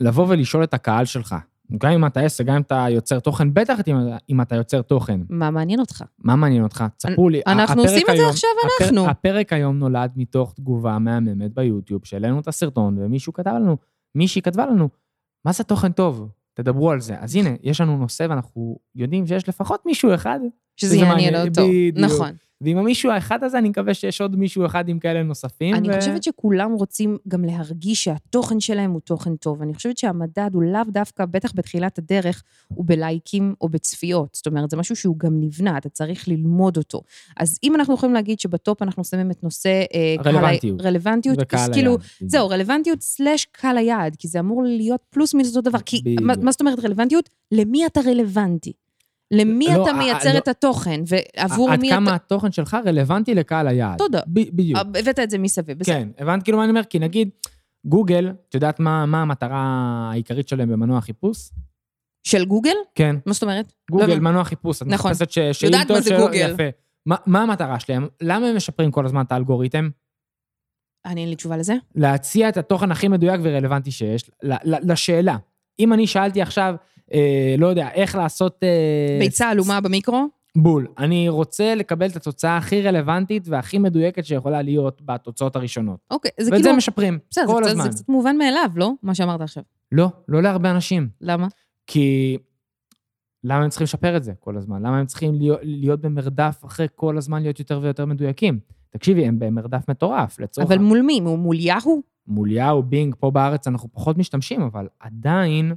לבוא ולשאול את הקהל שלך, גם אם אתה עסק, גם אם אתה יוצר תוכן, בטח אם, אם אתה יוצר תוכן,
מה מעניין אותך?
מה מעניין אותך? צפו לי.
אנחנו
הפרק
עושים את זה
היום-
עכשיו,
הפר-
אנחנו.
הפרק היום נולד מתוך תגובה מהממת ביוטיוב, שהעלינו את הסרטון, ומישהו כתב לנו, מישהי כתבה לנו, מה זה תוכן טוב? תדברו על זה. אז הנה, יש לנו נושא ואנחנו יודעים שיש לפחות מישהו אחד,
שזה
שזה
יעניין
מעניין,
אותו.
בדיוק.
נכון.
ועם המישהו האחד הזה, אני מקווה שיש עוד מישהו אחד עם כאלה נוספים.
אני חושבת שכולם רוצים גם להרגיש שהתוכן שלהם הוא תוכן טוב. אני חושבת שהמדד הוא לאו דווקא, בטח בתחילת הדרך, הוא בלייקים או בצפיות. זאת אומרת, זה משהו שהוא גם נבנה, אתה צריך ללמוד אותו. אז אם אנחנו יכולים להגיד שבטופ אנחנו שמים את נושא... אה, קהל ה-
רלוונטיות.
רלוונטיות.
וקהל
אז כאילו,
היעד, בדיוק.
זהו, רלוונטיות סלאש קהל היעד, כי זה אמור להיות פלוס מינוס אותו דבר. כי
בדיוק.
מה, מה זאת אומרת רלוונטיות? למי אתה רלוונטי? למי
לא,
אתה
אה,
מייצר
לא.
את התוכן, ועבור
עד
מי
כמה
אתה...
התוכן שלך רלוונטי לקהל היעד.
תודה.
ב- בדיוק.
אה, הבאת את זה מסביב, בסדר.
כן, הבנת כאילו מה אני אומר? כי נגיד, גוגל, את יודעת מה מה המטרה העיקרית שלהם במנוע החיפוש?
של גוגל?
כן,
מה זאת אומרת?
גוגל,
לא הבנתי.
מנוע חיפוש. את
נכון.
מחפשת ש-
יודעת מה
שאילתות
זה
שלא-
גוגל.
יפה. מה- מה המטרה שלהם? למה הם משפרים כל הזמן את האלגוריתם?
אני אה, אין לי תשובה לזה.
אה, להציע את התוכן הכי מדויק ורלוונטי שיש ל- ל- לשאלה. אם אני שאלתי עכשיו, אה, לא יודע, איך לעשות... אה,
ביצה עלומה במיקרו?
בול. אני רוצה לקבל את התוצאה הכי רלוונטית והכי מדויקת שיכולה להיות בתוצאות הראשונות.
אוקיי, זה
ואת זה
כאילו...
משפרים,
בסדר, זה
כל
קצת-
הזמן.
זה קצת מובן מאליו, לא? מה שאמרת עכשיו.
לא, לא להרבה אנשים.
למה?
כי למה הם צריכים לשפר את זה כל הזמן? למה הם צריכים להיות, להיות במרדף אחרי כל הזמן להיות יותר ויותר מדויקים? תקשיבי, הם במרדף מטורף, לצורך...
אבל
אבל...
מול מי? מול יהו?
מול יאו, בינג, פה בארץ אנחנו פחות משתמשים, אבל עדיין...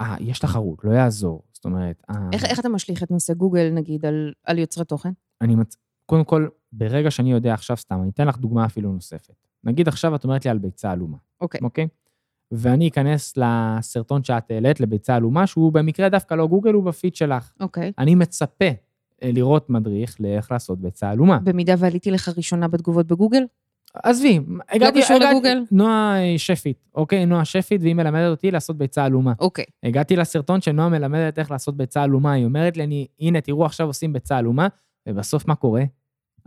אה, יש תחרות, לא יעזור. זאת אומרת, אה,
איך- איך אתה משליך את נושא גוגל, נגיד, על- על יוצרי תוכן?
אני מצ... קודם כל, ברגע שאני יודע עכשיו סתם, אני אתן לך דוגמה אפילו נוספת. נגיד עכשיו את אומרת לי על ביצה עלומה,
אוקיי.
אוקיי? ואני אכנס לסרטון שאת העלית לביצה עלומה, שהוא במקרה דווקא לא גוגל, הוא בפיד שלך.
אוקיי.
אני מצפה אה, לראות מדריך לאיך לעשות ביצה עלומה.
במידה ועליתי לך ראשונה בתגובות בגוגל?
עזבי,
לא קשור לגוגל?
נועה אה, שפית, אוקיי? נועה שפית, והיא מלמדת אותי לעשות ביצה עלומה.
אוקיי.
הגעתי לסרטון שנועה מלמדת איך לעשות ביצה עלומה, היא אומרת לי, אני, הנה, תראו, עכשיו עושים ביצה עלומה, ובסוף מה קורה?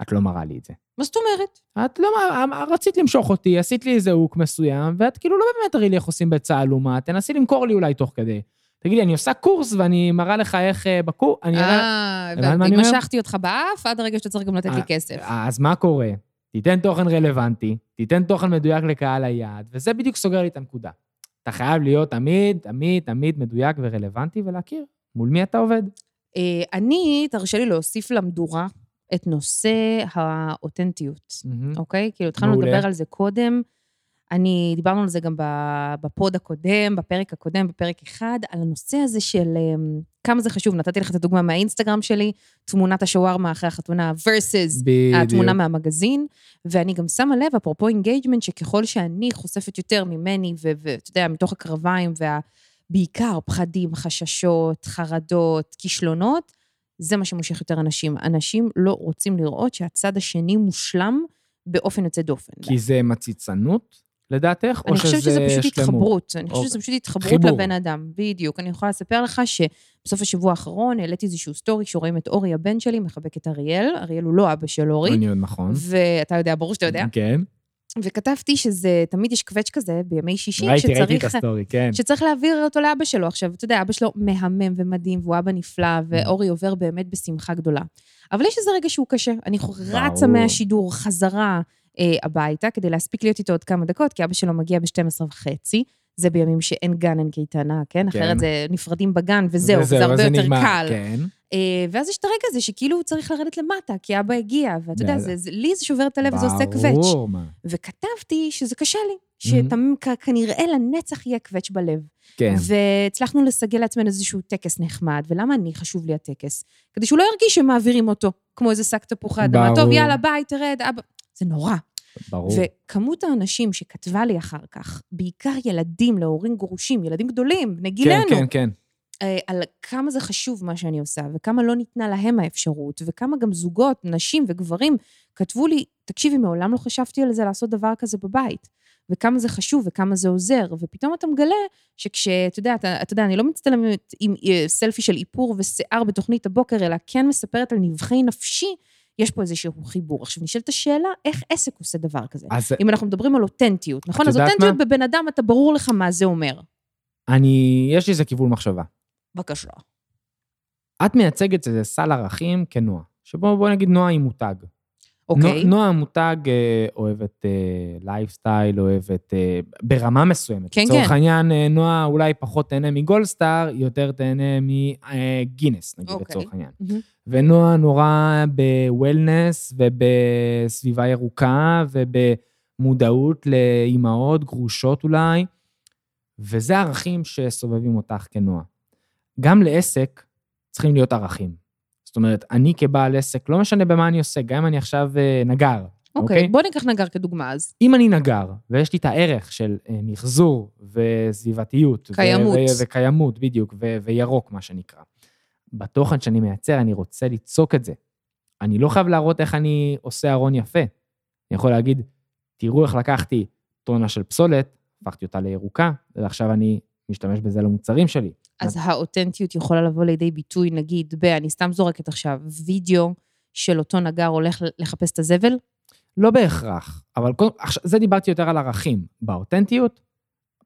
את לא מראה לי את זה.
מה זאת אומרת?
את לא, מ- רצית למשוך אותי, עשית לי איזה הוק מסוים, ואת כאילו לא באמת תראי לי איך עושים ביצה עלומה, תנסי למכור לי אולי תוך כדי. תגידי, אני עושה קורס ואני מראה לך איך אה, בקורס, אני... יודע-
אה,
הבנת מה
הבנתי.
אני אומר?
משכתי אותך באף עד הרגע שאתה צריך גם לתת לי
אה,
כסף.
אז מה קורה? תיתן תוכן רלוונטי, תיתן תוכן מדויק לקהל היעד, וזה בדיוק סוגר לי את הנקודה. אתה חייב להיות תמיד, תמיד, תמיד מדויק ורלוונטי ולהכיר מול מי אתה עובד.
אה, אני, תרשה לי להוסיף למדורה את נושא האותנטיות, אוקיי? כאילו, התחלנו
מעולה.
לדבר על זה קודם. אני, דיברנו על זה גם ב- בפוד הקודם, בפרק הקודם, בפרק אחד, על הנושא הזה של אמ, כמה זה חשוב. נתתי לך את הדוגמה מהאינסטגרם שלי, תמונת השווארמה אחרי החתונה versus
בדיוק.
התמונה מהמגזין, ואני גם שמה לב, אפרופו אינגייג'מנט, שככל שאני חושפת יותר ממני, ו- ואתה יודע, מתוך הקרביים, ובעיקר פחדים, חששות, חרדות, כישלונות, זה מה שמושך יותר אנשים. אנשים לא רוצים לראות שהצד השני מושלם באופן יוצא דופן.
כי זה מציצנות, לדעתך, או
אני
שזה
חושבת
שלמות?
שזה פשוט התחברות. אני חושבת
אוקיי.
שזה פשוט התחברות
חיבור.
לבן אדם, בדיוק. אני יכולה לספר לך שבסוף השבוע האחרון העליתי איזשהו סטורי שרואים את אורי הבן שלי מחבק את אריאל, אריאל הוא לא אבא של אורי,
אני עוד נכון.
ואתה יודע, ברור שאתה יודע.
כן.
וכתבתי שזה, תמיד יש קווץ' כזה בימי שישי,
ראיתי, ראיתי את
שצריך,
הסטורי, כן.
שצריך להעביר אותו לאבא שלו. עכשיו, אתה יודע, אבא שלו מהמם ומדהים, והוא אבא נפלא,
Mm.
ואורי עובר באמת בשמחה גדולה. אבל יש איזה רגע שהוא קשה. אני
ברור.
רצה מהשידור חזרה אה, הביתה, כדי להספיק להיות איתו עוד כמה דקות, כי אבא שלו מגיע ב-12 וחצי. זה בימים שאין גן, אין קייטנה, כן?
כן.
אחרת זה נפרדים בגן, וזהו, זה הרבה
אז
יותר
נגמר,
קל.
כן.
אה, ואז יש את הרגע הזה שכאילו הוא צריך לרדת למטה, כי אבא הגיע, ואתה יודע,
בטח.
זה- זה- לי זה שובר את הלב, זה עושה קווץ'.
ברור, מה.
וכתבתי שזה קשה לי,
Mhm.
שכנראה לנצח יהיה קווץ' בלב.
כן.
והצלחנו לסגל לעצמנו איזשהו טקס נחמד, ולמה אני חשוב לי הטקס? כדי שהוא לא ירגיש שמעבירים אותו, כמו איזה שק תפוחי אדמה.
ברור.
טוב, יאללה, ביי, תרד, אבא. זה נורא.
ברור.
וכמות האנשים שכתבה לי אחר כך, בעיקר ילדים להורים גרושים, ילדים גדולים, בני
כן,
גילנו,
כן, כן.
אה, על כמה זה חשוב מה שאני עושה, וכמה לא ניתנה להם האפשרות, וכמה גם זוגות, נשים וגברים כתבו לי, תקשיבי, מעולם לא חשבתי על זה לעשות דבר כזה בבית, וכמה זה חשוב וכמה זה עוזר, ופתאום אתה מגלה שכשאתה יודע, אתה, אתה יודע, אני לא מצטלמת עם אה, סלפי של איפור ושיער בתוכנית הבוקר, אלא כן מספרת על נבחי נפשי, יש פה איזשהו חיבור. עכשיו, נשאלת השאלה, איך עסק עושה דבר כזה?
אז
אם אנחנו מדברים על אותנטיות, נכון? אז
יודעת
אותנטיות בבן אדם, אתה ברור לך מה זה אומר.
אני, יש לי איזה כיוון מחשבה.
בבקשה.
את מייצגת איזה סל ערכים כנועה, שבו בוא נגיד נועה היא מותג.
אוקיי.
נו- נועה המותג אה, אוהבת אה, לייפסטייל, אוהבת אה, ברמה מסוימת.
כן,
לצורך
כן.
העניין, אה, נועה אולי פחות תהנה מגולדסטאר, יותר תהנה אה, מגינס, נגיד,
אוקיי.
לצורך העניין.
מהמם.
ונועה נורא בוולנס ובסביבה ירוקה ובמודעות לאימהות גרושות אולי, וזה ערכים שסובבים אותך כנועה. גם לעסק צריכים להיות ערכים. זאת אומרת, אני כבעל עסק, לא משנה במה אני עושה, גם אם אני עכשיו אה, נגר,
אוקיי, okay, okay. בוא ניקח נגר כדוגמה אז.
אם אני נגר, ויש לי את הערך של אה, מחזור וסביבתיות. ו-
קיימות.
ו- וקיימות, בדיוק, ו- וירוק, מה שנקרא. בתוכן שאני מייצר, אני רוצה ליצוק את זה. אני לא חייב להראות איך אני עושה ארון יפה. אני יכול להגיד, תראו איך לקחתי טונה של פסולת, הפכתי אותה לירוקה, ועכשיו אני משתמש בזה למוצרים שלי.
אז האותנטיות יכולה לבוא לידי ביטוי, נגיד, ב... אני סתם זורקת עכשיו, וידאו של אותו נגר הולך לחפש את הזבל?
לא בהכרח, אבל כל, עכשיו, זה דיברתי יותר על ערכים. באותנטיות,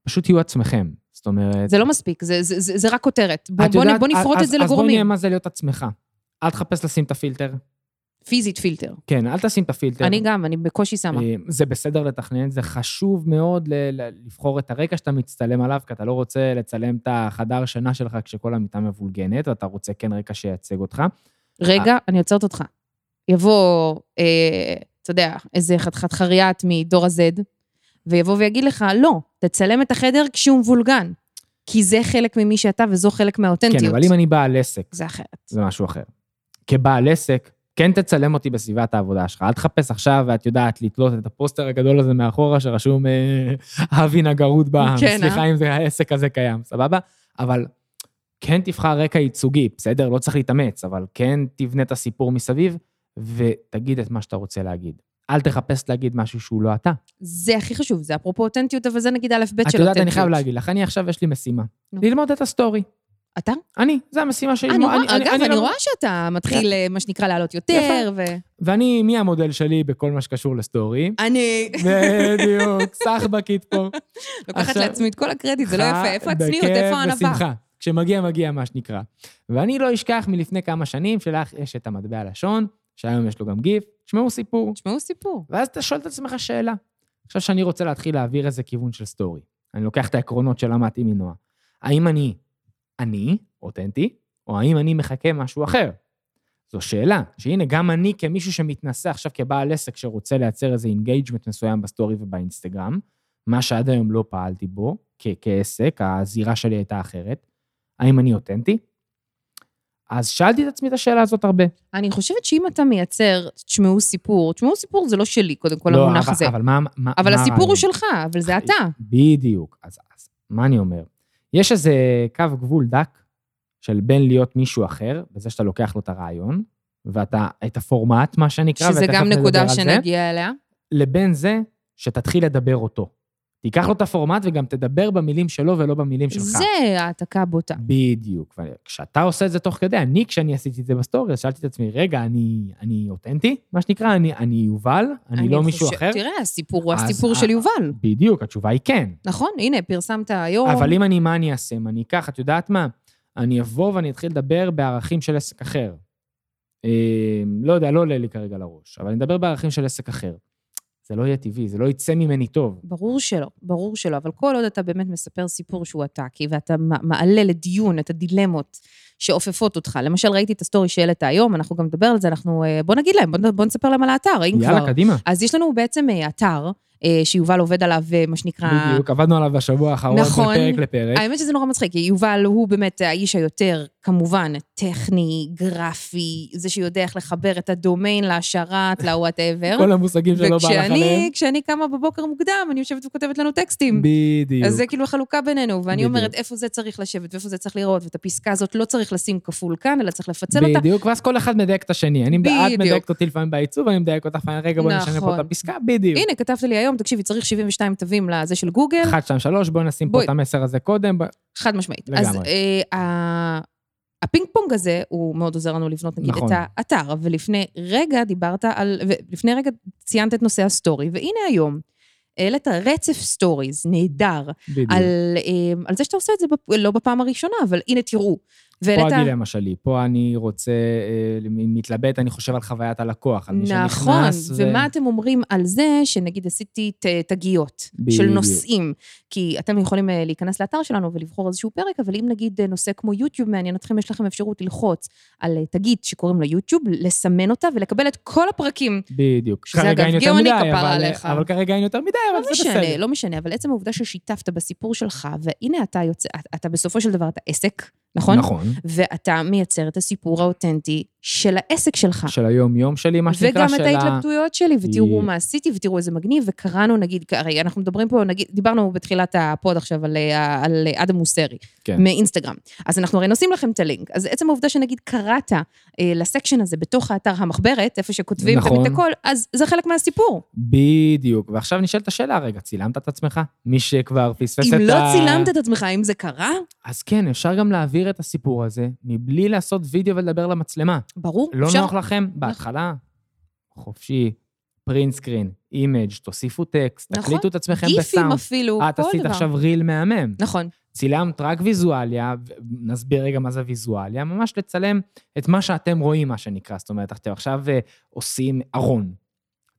פשוט תהיו עצמכם. זאת אומרת...
זה לא מספיק, זה, זה, זה, זה רק כותרת. בוא,
את
בוא,
יודעת,
יודעת, בוא נפרוט
אז-
את זה
אז בואי נראה
לגורמים.
מה זה להיות עצמך. אל תחפש לשים את הפילטר.
פיזית פילטר.
כן, אל תשים את הפילטר.
אני גם, אני בקושי שמה.
אה, זה בסדר לתכנן, זה חשוב מאוד ל- ל- לבחור את הרקע שאתה מצטלם עליו, כי אתה לא רוצה לצלם את החדר שינה שלך כשכל המיטה מבולגנת, ואתה רוצה כן רקע שייצג אותך. כן,
רגע,
אה.
אני עוצרת אותך. יבוא, אה, אתה יודע, איזה חתיכת חריאת מדור ה-Z, ויבוא ויגיד לך, לא, תצלם את החדר כשהוא מבולגן. כי זה חלק ממי שאתה וזו חלק מהאותנטיות.
כן, אבל אם אני בעל עסק,
זה אחרת.
זה משהו אחר. כבעל עסק, כן תצלם אותי בסביבת העבודה שלך. אל תחפש עכשיו, ואת יודעת, לתלות את הפוסטר הגדול הזה מאחורה, שרשום אה, אבי נגרות בעם.
כן, אה?
סליחה אם זה העסק הזה קיים, סבבה? אבל כן תבחר רקע ייצוגי, בסדר? לא צריך להתאמץ, אבל כן תבנה את הסיפור מסביב, ותגיד את מה שאתה רוצה להגיד. אל תחפש להגיד משהו שהוא לא אתה.
זה הכי חשוב, זה אפרופו אותנטיות, אבל זה נגיד א' ב' של אותנטיות.
את יודעת, אני חייב להגיד לך, אני עכשיו יש לי משימה.
נו.
ללמוד את הסטורי.
אתה? אה,
אני, זו המשימה שלי.
אני רואה, אגב, אני
לא-
רואה שאתה מתחיל, אה, מה שנקרא, לעלות יותר, ו...
ואני, מי המודל שלי בכל מה שקשור לסטורי?
אני
בדיוק, סחבקית פה.
לוקחת
עכשיו-
לעצמי את כל הקרדיט, זה לא יפה. איפה
בכיף,
הצניעות? איפה הענווה?
בשמחה. כשמגיע, מגיע, מה שנקרא. ואני לא אשכח מלפני כמה שנים שלך יש את המטבע לשון, שהיום יש לו גם גיף, תשמעו סיפור.
תשמעו סיפור.
ואז אתה שואל את עצמך שאלה. עכשיו שאני רוצה להתחיל להעביר איזה כיוון של סטורי. אני לוקח את העקרונות שלמדתי מנועה. האם אני אני, אותנטי, או האם אני מחכה משהו אחר? זו שאלה, שהנה, גם אני כמישהו שמתנסה עכשיו כבעל עסק שרוצה לייצר איזה אינגייג'מנט מסוים בסטורי ובאינסטגרם, מה שעד היום לא פעלתי בו כ- כעסק, הזירה שלי הייתה אחרת, האם אני אותנטי? אז שאלתי את עצמי את השאלה הזאת הרבה.
אני חושבת שאם אתה מייצר, תשמעו סיפור, תשמעו סיפור זה לא שלי, קודם כל,
לא,
המונח
אבל-
הזה.
אבל מה, מה,
אבל
מה אה,
הסיפור
הרעיון?
הוא שלך, אבל זה אתה.
בדיוק. אז, אז מה אני אומר? יש איזה קו גבול דק של בין להיות מישהו אחר, בזה שאתה לוקח לו את הרעיון, ואתה, את הפורמט, מה שנקרא,
שזה
ותכף
גם
נדבר
נקודה
על זה,
שנגיע אליה.
לבין זה שתתחיל לדבר אותו. תיקח לו את הפורמט וגם תדבר במילים שלו ולא במילים שלך.
זה העתקה בוטה.
בדיוק. וכשאתה עושה את זה תוך כדי, אני, כשאני עשיתי את זה בסטורי, אז שאלתי את עצמי, רגע, אני, אני אותנטי, מה שנקרא? אני, אני יובל? אני, לא מישהו
חושב-
אחר?
תראה, הסיפור הוא
אז
הסיפור
ה-
של יובל.
בדיוק, התשובה היא כן.
נכון, הנה, פרסמת היום.
אבל אם אני, מה אני אעשה? אם אני אקח, את יודעת מה? אני אבוא ואני אתחיל לדבר בערכים של עסק אחר. אה, לא יודע, לא עולה לי כרגע לראש, אבל אני אדבר בערכים של עסק אחר. זה לא יהיה טבעי, זה לא יצא ממני טוב.
ברור שלא, ברור שלא, אבל כל עוד אתה באמת מספר סיפור שהוא אתה, כי ואתה מע- מעלה לדיון את הדילמות שעופפות אותך. למשל, ראיתי את הסטורי שהעלית היום, אנחנו גם נדבר על זה, אנחנו... אה, בוא נגיד להם, בוא, נ- בוא נספר להם על האתר, אם
יאללה,
כבר.
קדימה.
אז יש לנו בעצם אה, אתר אה, שיובל עובד עליו, אה, מה שנקרא...
בדיוק, עבדנו עליו בשבוע האחרון,
נכון.
מפרק לפרק.
האמת שזה נורא מצחיק, כי יובל הוא באמת האיש היותר, כמובן, טכני, גרפי, זה שיודע איך לחבר את הדומיין להשארת, ל-whatever.
כל המושגים שלא בא לך עליהם.
וכשאני כשאני קמה בבוקר מוקדם, אני יושבת וכותבת לנו טקסטים.
בדיוק.
אז זה כאילו החלוקה בינינו, ואני
בדיוק.
אומרת, איפה זה צריך לשבת ואיפה זה צריך לראות, ואת הפסקה הזאת לא צריך לשים כפול כאן, אלא צריך לפצל אותה.
בדיוק, ואז כל אחד מדייק את השני. אני מדייק- את
בדיוק.
מדייקת אותי לפעמים בעיצוב, אני מדייק אותך, רגע, בוא נשנה פה
נכון.
את הפסקה, בדיוק.
הנה, כתבת לי היום, תקשיבי, צריך 72 תווים לזה של גוגל,
1, 2, 3, בוא נשים פה
בואי.
את המסר הזה קודם. בוא-
חד משמעית.
לגמרי.
אז אה, ה- הפינג פונג הזה, הוא מאוד עוזר לנו לבנות, נגיד,
נכון.
את האתר. ולפני רגע דיברת על, ולפני רגע ציינת את נושא הסטורי, והנה היום. העלית רצף סטוריז, נהדר,
בדיוק.
על, אה, על זה שאתה עושה את זה בפ... לא בפעם הראשונה, אבל הנה, תראו.
פה
והעלית-
הדילמה שלי, פה אני רוצה, אה, מתלבט, אני חושב על חוויית הלקוח, על מי שנכנס.
נכון,
ו-
ומה אתם אומרים על זה שנגיד עשיתי ת- תגיות של
בדיוק.
נושאים? כי אתם יכולים אה, להיכנס לאתר שלנו ולבחור איזשהו פרק, אבל אם נגיד אה, נושא כמו יוטיוב מעניין אתכם, יש לכם אפשרות ללחוץ על אה, תגית שקוראים לה יוטיוב, לסמן אותה ולקבל את כל הפרקים.
בדיוק.
שזה
כרגע
אגב
אין יותר
גאוני,
מדי,
כפרה
אבל-
עליך.
אבל כרגע אין יותר מדי, אבל
לא
זה בסדר.
משנה, לא משנה, אבל עצם העובדה ששיתפת בסיפור שלך, והנה אתה יוצא, אתה- אתה בסופו של דבר, אתה עסק, נכון?
נכון.
ואתה מייצר את הסיפור האותנטי של העסק שלך.
של היום-יום שלי, מה שנקרא,
אה.
של
וגם את
ה-
ההתלבטויות שלי, ותראו
בדיוק.
מה עשיתי, ותראו איזה מגניב, וקראנו, נגיד, הרי אנחנו מדברים פה, נגיד, דיברנו בתחילת הפוד עכשיו על, אה, על אה, אדם מוסרי,
כן.
מאינסטגרם. אז אנחנו הרי נשים לכם את הלינק. אז עצם העובדה שנגיד קראת אה, לסקשן הזה בתוך האתר המחברת, איפה שכותבים
נכון.
תמיד את הכל, אז זה חלק מהסיפור.
בדיוק. ועכשיו נשאלת השאלה, רגע, צילמת את עצמך? מי שכבר פספס את
אם
ה...
לא צילמת את עצמך, אם זה קרה,
אז כן, אפשר גם להעביר את הסיפור הזה, מבלי לעשות וידאו ולדבר למצלמה.
ברור,
לא
אפשר- נכון.
נוח לכם? בהתחלה, חופשי, פרינט סקרין, אימג', תוסיפו טקסט,
נכון.
תקליטו את עצמכם
גיפים
בסאונד.
אפילו,
אה, את
כל
עשית
דבר.
עכשיו ריל מהמם.
נכון,
צילמת רק ויזואליה, ו- נסביר רגע מה זה ויזואליה, ממש לצלם את מה שאתם רואים, מה שנקרא. זאת אומרת, אתם עכשיו אה, עושים ארון.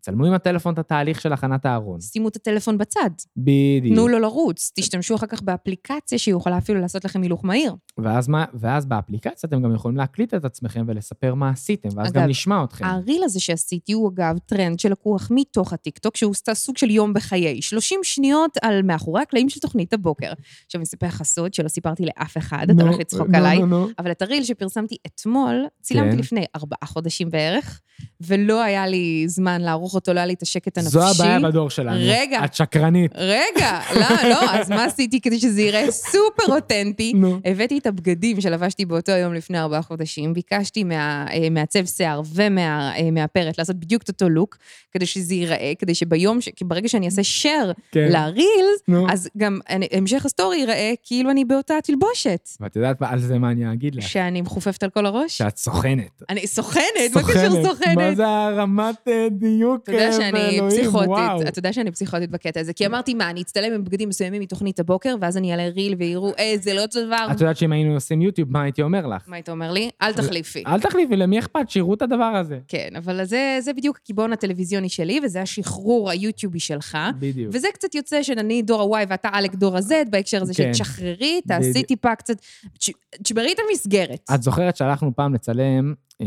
צלמו עם הטלפון את התהליך של הכנת הארון.
שימו את הטלפון בצד,
בדיוק.
תנו לו לרוץ, תשתמשו אחר כך באפליקציה שיכולה אפילו לעשות לכם הילוך מהיר.
ואז, מה, ואז באפליקציה אתם גם יכולים להקליט את עצמכם ולספר מה עשיתם, ואז
אגב, אה,
גם נשמע אתכם.
הריל הזה שעשיתי הוא אגב טרנד שלקוח מתוך הטיקטוק, שהוא עשתה סוג של יום בחיי. 30 שניות על מאחורי הקלעים של תוכנית הבוקר. עכשיו אני אספר לך סוד שלא סיפרתי לאף אחד, אתה הולך לצחוק עליי. אבל את הריל שפרסמתי אתמול, צילמתי
כן.
לפני ארבעה חודשים בערך, ולא היה לי זמן לערוך התערוכת עולה לי את השקט הנפשי.
זו הבעיה בדור שלנו.
רגע.
את שקרנית.
רגע, לא, לא, אז מה עשיתי כדי שזה ייראה סופר אותנטי?
נו.
הבאתי את הבגדים שלבשתי באותו יום לפני ארבעה חודשים, ביקשתי מה, אה, מעצב שיער ומהפרט לעשות בדיוק את אותו לוק, כדי שזה ייראה, כדי שביום, ש... כי ברגע שאני אעשה share
כן.
לרילס,
נו.
אז גם אני- המשך הסטורי ייראה כאילו אני באותה תלבושת,
ואת יודעת מה- על זה מה אני אגיד לך?
שאני מחופפת על כל הראש.
שאת כן. סוכנת.
אני סוכנת, מה קשר
מה
סוכנת?
זה הרמת אה, דיוק
אתה יודע
אה,
שאני
באלוהים? וואו.
פסיכוטית, אתה יודע שאני פסיכוטית בקטע הזה, כי אמרתי, מה, אני אצטלם עם בגדים מסוימים מתוכנית הבוקר, ואז אני אעלה ריל ויראו, אה, זה לא אותו דבר.
את יודעת שאם היינו עושים יוטיוב, מה הייתי אומר לך?
מה היית אומר לי? אל תחליפי.
אל תחליפי, למי אכפת? שיראו את הדבר הזה.
כן, אבל זה, זה בדיוק הקיבעון הטלוויזיוני שלי, וזה השחרור היוטיובי שלך.
בדיוק.
וזה קצת יוצא שאני דור ה-Y ואתה עלק דור ה-Z, בהקשר הזה של
כן.
תשחררי, תעשי
בדיוק.
טיפה קצת, תש- תשברי את המסגרת.
את זוכרת שהלכנו פעם לצלם, אה,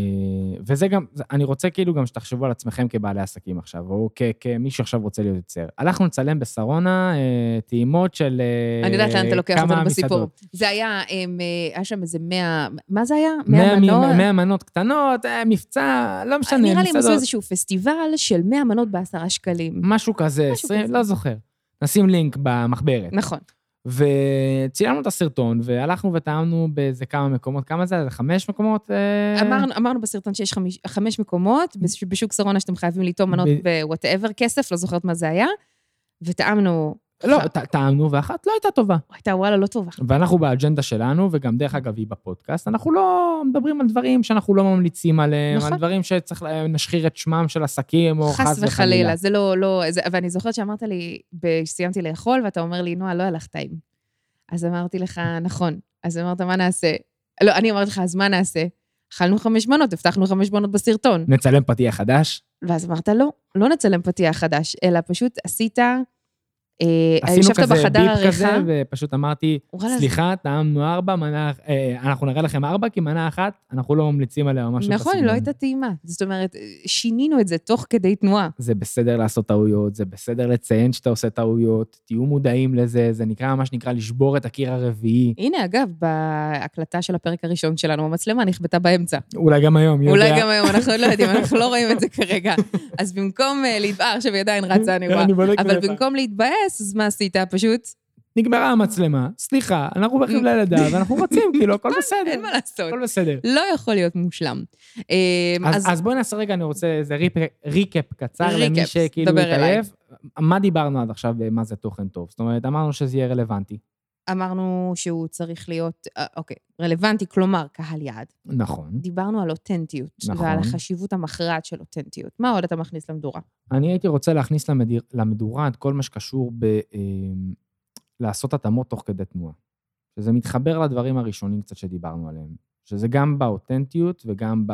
וזה גם, זה- אני רוצה כאילו גם שתחשבו על עצמכם כבעלי עסקים עכשיו, או כ- כמי שעכשיו רוצה להיות יוצר. הלכנו לצלם בשרונה אה, טעימות של אה,
אני יודעת לאן אתה לוקח
כמה
אותנו בסיפור.
מסעדות.
זה היה, אמ, אה, היה שם איזה 100, מה זה היה? 100
מאה
מנות?
מ- מאה מנות קטנות, אה, מבצע, לא משנה,
נראה לי הם עשו
מסעדות.
איזשהו פסטיבל של 100 מנות בעשרה שקלים.
משהו כזה,
משהו
20,
כזה.
לא זוכר. נשים לינק במחברת.
נכון.
וצילמנו את הסרטון, והלכנו וטעמנו באיזה כמה מקומות, כמה זה? היה? זה חמש מקומות? אה,
אמרנו, אמרנו בסרטון שיש חמיש, חמש מקומות, בש- בשוק שרונה שאתם חייבים לטעום מנות
ב-
בוואטאבר כסף, לא זוכרת מה זה היה, וטעמנו,
לא, ט- טעמנו, ואחת לא הייתה טובה.
הייתה וואלה לא טובה.
ואנחנו באג'נדה שלנו, וגם דרך אגב היא בפודקאסט, אנחנו לא מדברים על דברים שאנחנו לא ממליצים עליהם,
נכון.
על דברים שצריך לה- נשחיר את שמם של עסקים, או חס,
חס וחלילה, זה לא, לא, זה, ואני זוכרת שאמרת לי, ב- סיימתי לאכול, ואתה אומר לי, נועה, לא היה לך טעים. אז אמרתי לך, נכון. אז אמרת, מה נעשה? לא, אני אמרתי לך, אז מה נעשה? אכלנו חמש מנות, הבטחנו חמש מנות בסרטון.
נצלם פתיח חדש,
ואז אמרת, לא, לא נצלם פתיח חדש, אלא פשוט עשית, אה,
עשינו
ישבת
כזה
בחדר
ביפ כזה,
העריכה,
ופשוט אמרתי,
וואלה, זה-
סליחה, טעמנו ארבע, מנה, אה, אנחנו נראה לכם ארבע, כי מנה אחת, אנחנו לא ממליצים עליה או משהו
נכון, היא לא
בסגנון.
הייתה טעימה. זאת אומרת, שינינו את זה תוך כדי תנועה.
זה בסדר לעשות טעויות, זה בסדר לציין שאתה עושה טעויות, תהיו מודעים לזה, זה נקרא, מה שנקרא, לשבור את הקיר הרביעי.
הנה, אגב, בהקלטה של הפרק הראשון שלנו, המצלמה נכבתה באמצע.
אולי גם היום, מי יודע.
אולי גם היום, אנחנו עוד לא יודעים, אנחנו לא רואים את זה כרגע. אז במקום אה, להתבאס, עכשיו היא עדיין רצה, אני רואה.
אני בודק
אבל
בטח.
במקום להתבאס, אז מה עשית? פשוט,
נגמרה המצלמה, סליחה, אנחנו בחבלי לידה, ואנחנו רוצים, כאילו, הכל
אין
בסדר,
מה לעשות.
הכל בסדר.
לא יכול להיות מושלם. אה,
אז,
אז
אז בואי נעשה רגע, אני רוצה איזה ריפ- ריקאפ קצר למי
ריקאפ,
שכאילו
דבר אליי.
התעייף. מה דיברנו עד עכשיו ומה זה תוכן טוב? זאת אומרת, אמרנו שזה יהיה רלוונטי.
אמרנו שהוא צריך להיות, אה, אוקיי, רלוונטי, כלומר, קהל יעד.
נכון.
דיברנו על אותנטיות,
נכון.
ועל החשיבות המכרעת של אותנטיות. מה עוד אתה מכניס למדורה?
אני הייתי רוצה להכניס למדיר, למדורה את כל מה שקשור ב... אמ, לעשות התאמות תוך כדי תנועה. שזה מתחבר לדברים הראשונים קצת שדיברנו עליהם. שזה גם באותנטיות וגם ב...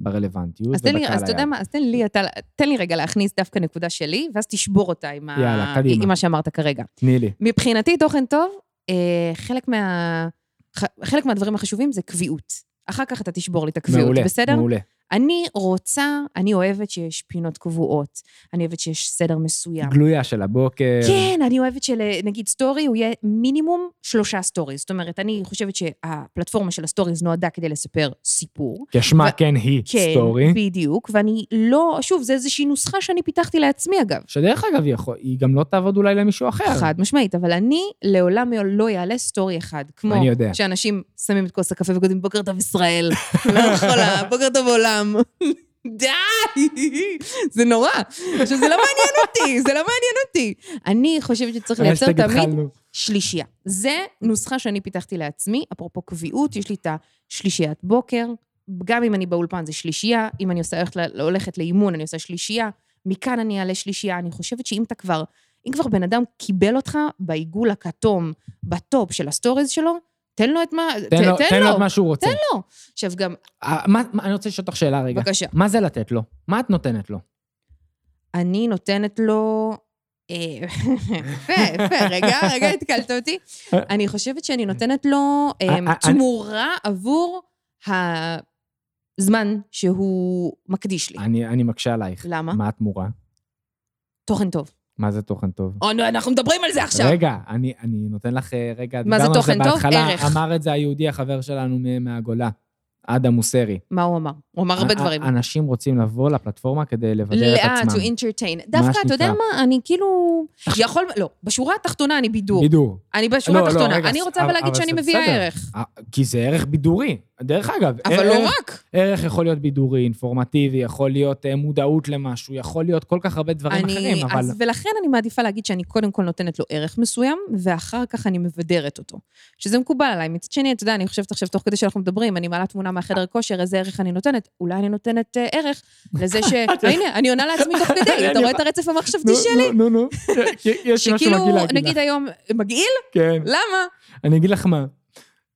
ברלוונטיות.
אז תן לי,
ובקהל
אז אתה יודע
היעד.
מה, אז תן לי, אתה, תן לי רגע להכניס דווקא נקודה שלי, ואז תשבור אותה עם,
יאללה,
ה...
קדימה.
עם מה שאמרת כרגע.
תני לי.
מבחינתי, תוכן טוב, אה, חלק, מה... ח- חלק מהדברים החשובים זה קביעות. אחר כך אתה תשבור לי את הקביעות,
מעולה,
בסדר?
מעולה.
אני רוצה, אני אוהבת שיש פינות קבועות, אני אוהבת שיש סדר מסוים.
גלויה של הבוקר.
כן, אני אוהבת שנגיד סטורי, הוא יהיה מינימום שלושה סטוריז. זאת אומרת, אני חושבת שהפלטפורמה של הסטוריז נועדה כדי לספר סיפור.
כשמה
ו-
כן היא
כן,
סטורי.
בדיוק, ואני לא, שוב, זה איזושהי נוסחה שאני פיתחתי לעצמי, אגב.
שדרך אגב, היא יכול- היא גם לא תעבוד אולי למישהו אחר.
חד משמעית, אבל אני לעולם לא יעלה סטורי אחד, כמו
אני יודע.
שאנשים שמים את כוס הקפה וכותבים בוקר טוב ישראל, לא יכול, לה, בוקר טוב עולם. די! זה נורא. עכשיו, זה לא מעניין אותי, זה לא מעניין אותי. אני חושבת שצריך לייצר
האשטג
תמיד
התחלנו.
שלישייה. זה נוסחה שאני פיתחתי לעצמי, אפרופו קביעות, יש לי את השלישיית בוקר, גם אם אני באולפן זה שלישייה, אם אני עושה, הולכת, ל- הולכת לאימון אני עושה שלישייה, מכאן אני אעלה שלישייה. אני חושבת שאם אתה כבר, אם כבר בן אדם קיבל אותך בעיגול הכתום, בטופ של הסטוריז שלו, תן לו את מה,
תן לו- תן לו את מה שהוא רוצה.
תן לו. עכשיו גם,
אה, מה- מה- אני רוצה לשאול אותך שאלה רגע.
בבקשה,
מה זה לתת לו? מה את נותנת לו?
אני נותנת לו... אה, יפה, יפה, רגע, רגע, התקלת אותי. אני חושבת שאני נותנת לו אה,
אני-
תמורה עבור הזמן שהוא מקדיש לי.
אני אני מקשה עלייך.
למה?
מה התמורה?
תוכן טוב.
מה זה תוכן טוב?
או, נו, אנחנו מדברים על זה עכשיו.
רגע, אני, אני נותן לך, אה, רגע,
מה זה
דיברנו על
תוכן טוב?
בהתחלה,
ערך.
אמר את זה היהודי החבר שלנו מ- מהגולה. אדם מוסרי.
מה הוא אמר? הוא אמר הרבה
א- א-
דברים.
אנשים רוצים לבוא לפלטפורמה כדי לבדר אה, את
לאט, to
עצמם.
entertain. דווקא, אתה יודע
שנקרא.
מה, אני כאילו... יכול... לא, בשורה התחתונה אני בידור.
בידור.
אני בשורה
לא, לא,
התחתונה.
רגע,
אני רוצה
אבל-
אבל להגיד
אבל
שאני
זה
מביאה
בסדר.
ערך.
אה, כי זה ערך בידורי. דרך אגב,
אבל
ערך,
לא רק.
ערך יכול להיות בידורי, אינפורמטיבי, יכול להיות אה, מודעות למשהו, יכול להיות כל כך הרבה דברים
אני,
אחרים, אבל...
אז, ולכן אני מעדיפה להגיד שאני קודם כל נותנת לו ערך מסוים, ואחר כך אני מבדרת אותו. שזה מקובל עליי. מצד שני, אתה יודע, אני חושבת עכשיו, תוך כדי שאנחנו מדברים, אני מעלה תמונה
אה.
מהחדר כושר, איזה ערך אני נותנת. אולי אני נותנת אה, ערך לזה ש... הנה, אני עונה לעצמי תוך כדי, אתה רואה את הרצף המחשבתי
נו,
שלי?
נו, נו, נו. יש משהו
שכאילו,
מגעיל להגיד לך.
נגיד היום, מגעיל?
כן.
למה?
אני אגיד לך מה.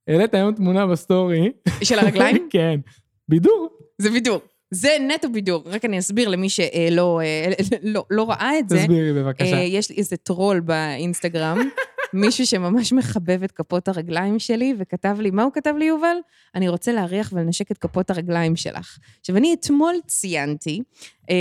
העלית היום תמונה בסטורי.
של הרגליים?
כן. בידור.
זה בידור. זה נטו בידור. רק אני אסביר למי שלא אה, לא, לא ראה את זה.
תסבירי בבקשה.
אה, יש לי איזה טרול באינסטגרם, מישהו שממש מחבב את כפות הרגליים שלי, וכתב לי, מה הוא כתב לי, יובל? אני רוצה להריח ולנשק את כפות הרגליים שלך. עכשיו, אני אתמול ציינתי, אה,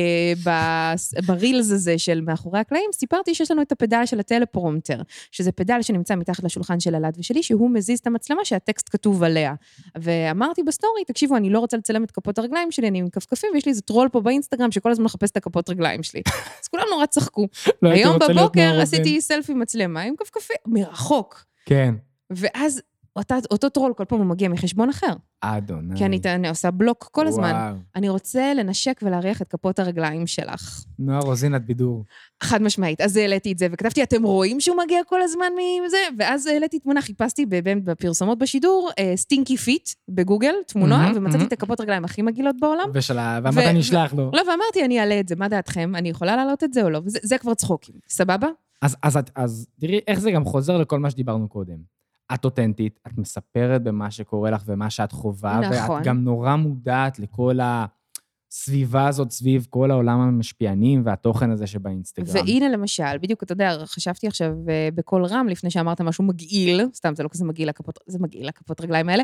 בס- ברילס הזה של מאחורי הקלעים, סיפרתי שיש לנו את הפדל של הטלפרומטר, שזה פדל שנמצא מתחת לשולחן של אלעד ושלי, שהוא מזיז את המצלמה שהטקסט כתוב עליה. ואמרתי בסטורי, תקשיבו, אני לא רוצה לצלם את כפות הרגליים שלי, אני עם כפכפים, ויש לי איזה טרול פה באינסטגרם שכל הזמן מחפש את הכפות רגליים שלי. אז כולם נורא צחקו.
לא הייתי
היום
רוצה להיות
בבוקר
מעורב בין-
עשיתי סלפי מצלמה עם כפכפים, מרחוק.
כן.
ואז אותה, אותו טרול כל פעם הוא מגיע מחשבון אחר,
אדוני.
כי אני, אני עושה בלוק כל הזמן.
אה. וואו.
אני רוצה לנשק ולהריח את כפות הרגליים שלך.
נועה רוזין, את בידור.
חד משמעית. אז העליתי את זה, וכתבתי, אתם רואים שהוא מגיע כל הזמן מזה? ואז העליתי תמונה, חיפשתי ב- באמת בפרסומות בשידור, סטינקי פיט בגוגל, תמונה,
מהמם,
ומצאתי
מהמם.
את הכפות רגליים הכי מגעילות בעולם.
ושלה,
אה? ו-
והמתן
ו-
נשלח לו.
לא, ואמרתי, אני אעלה את זה, מה דעתכם? אני יכולה להעלות את זה או לא? וזה זה כבר צחוקים, סבבה?
אז, אז, את- אז תראי איך זה גם חוזר לכל מה שדיברנו קודם. את אותנטית, את מספרת במה שקורה לך ומה שאת חווה,
נכון.
ואת גם נורא מודעת לכל הסביבה הזאת סביב כל העולם המשפיענים והתוכן הזה שבאינסטגרם.
והנה למשל, בדיוק, אתה יודע, חשבתי עכשיו אה, בקול רם, לפני שאמרת משהו מגעיל, סתם, זה לא כזה מגעיל, הכפות, זה מגעיל, הכפות רגליים האלה.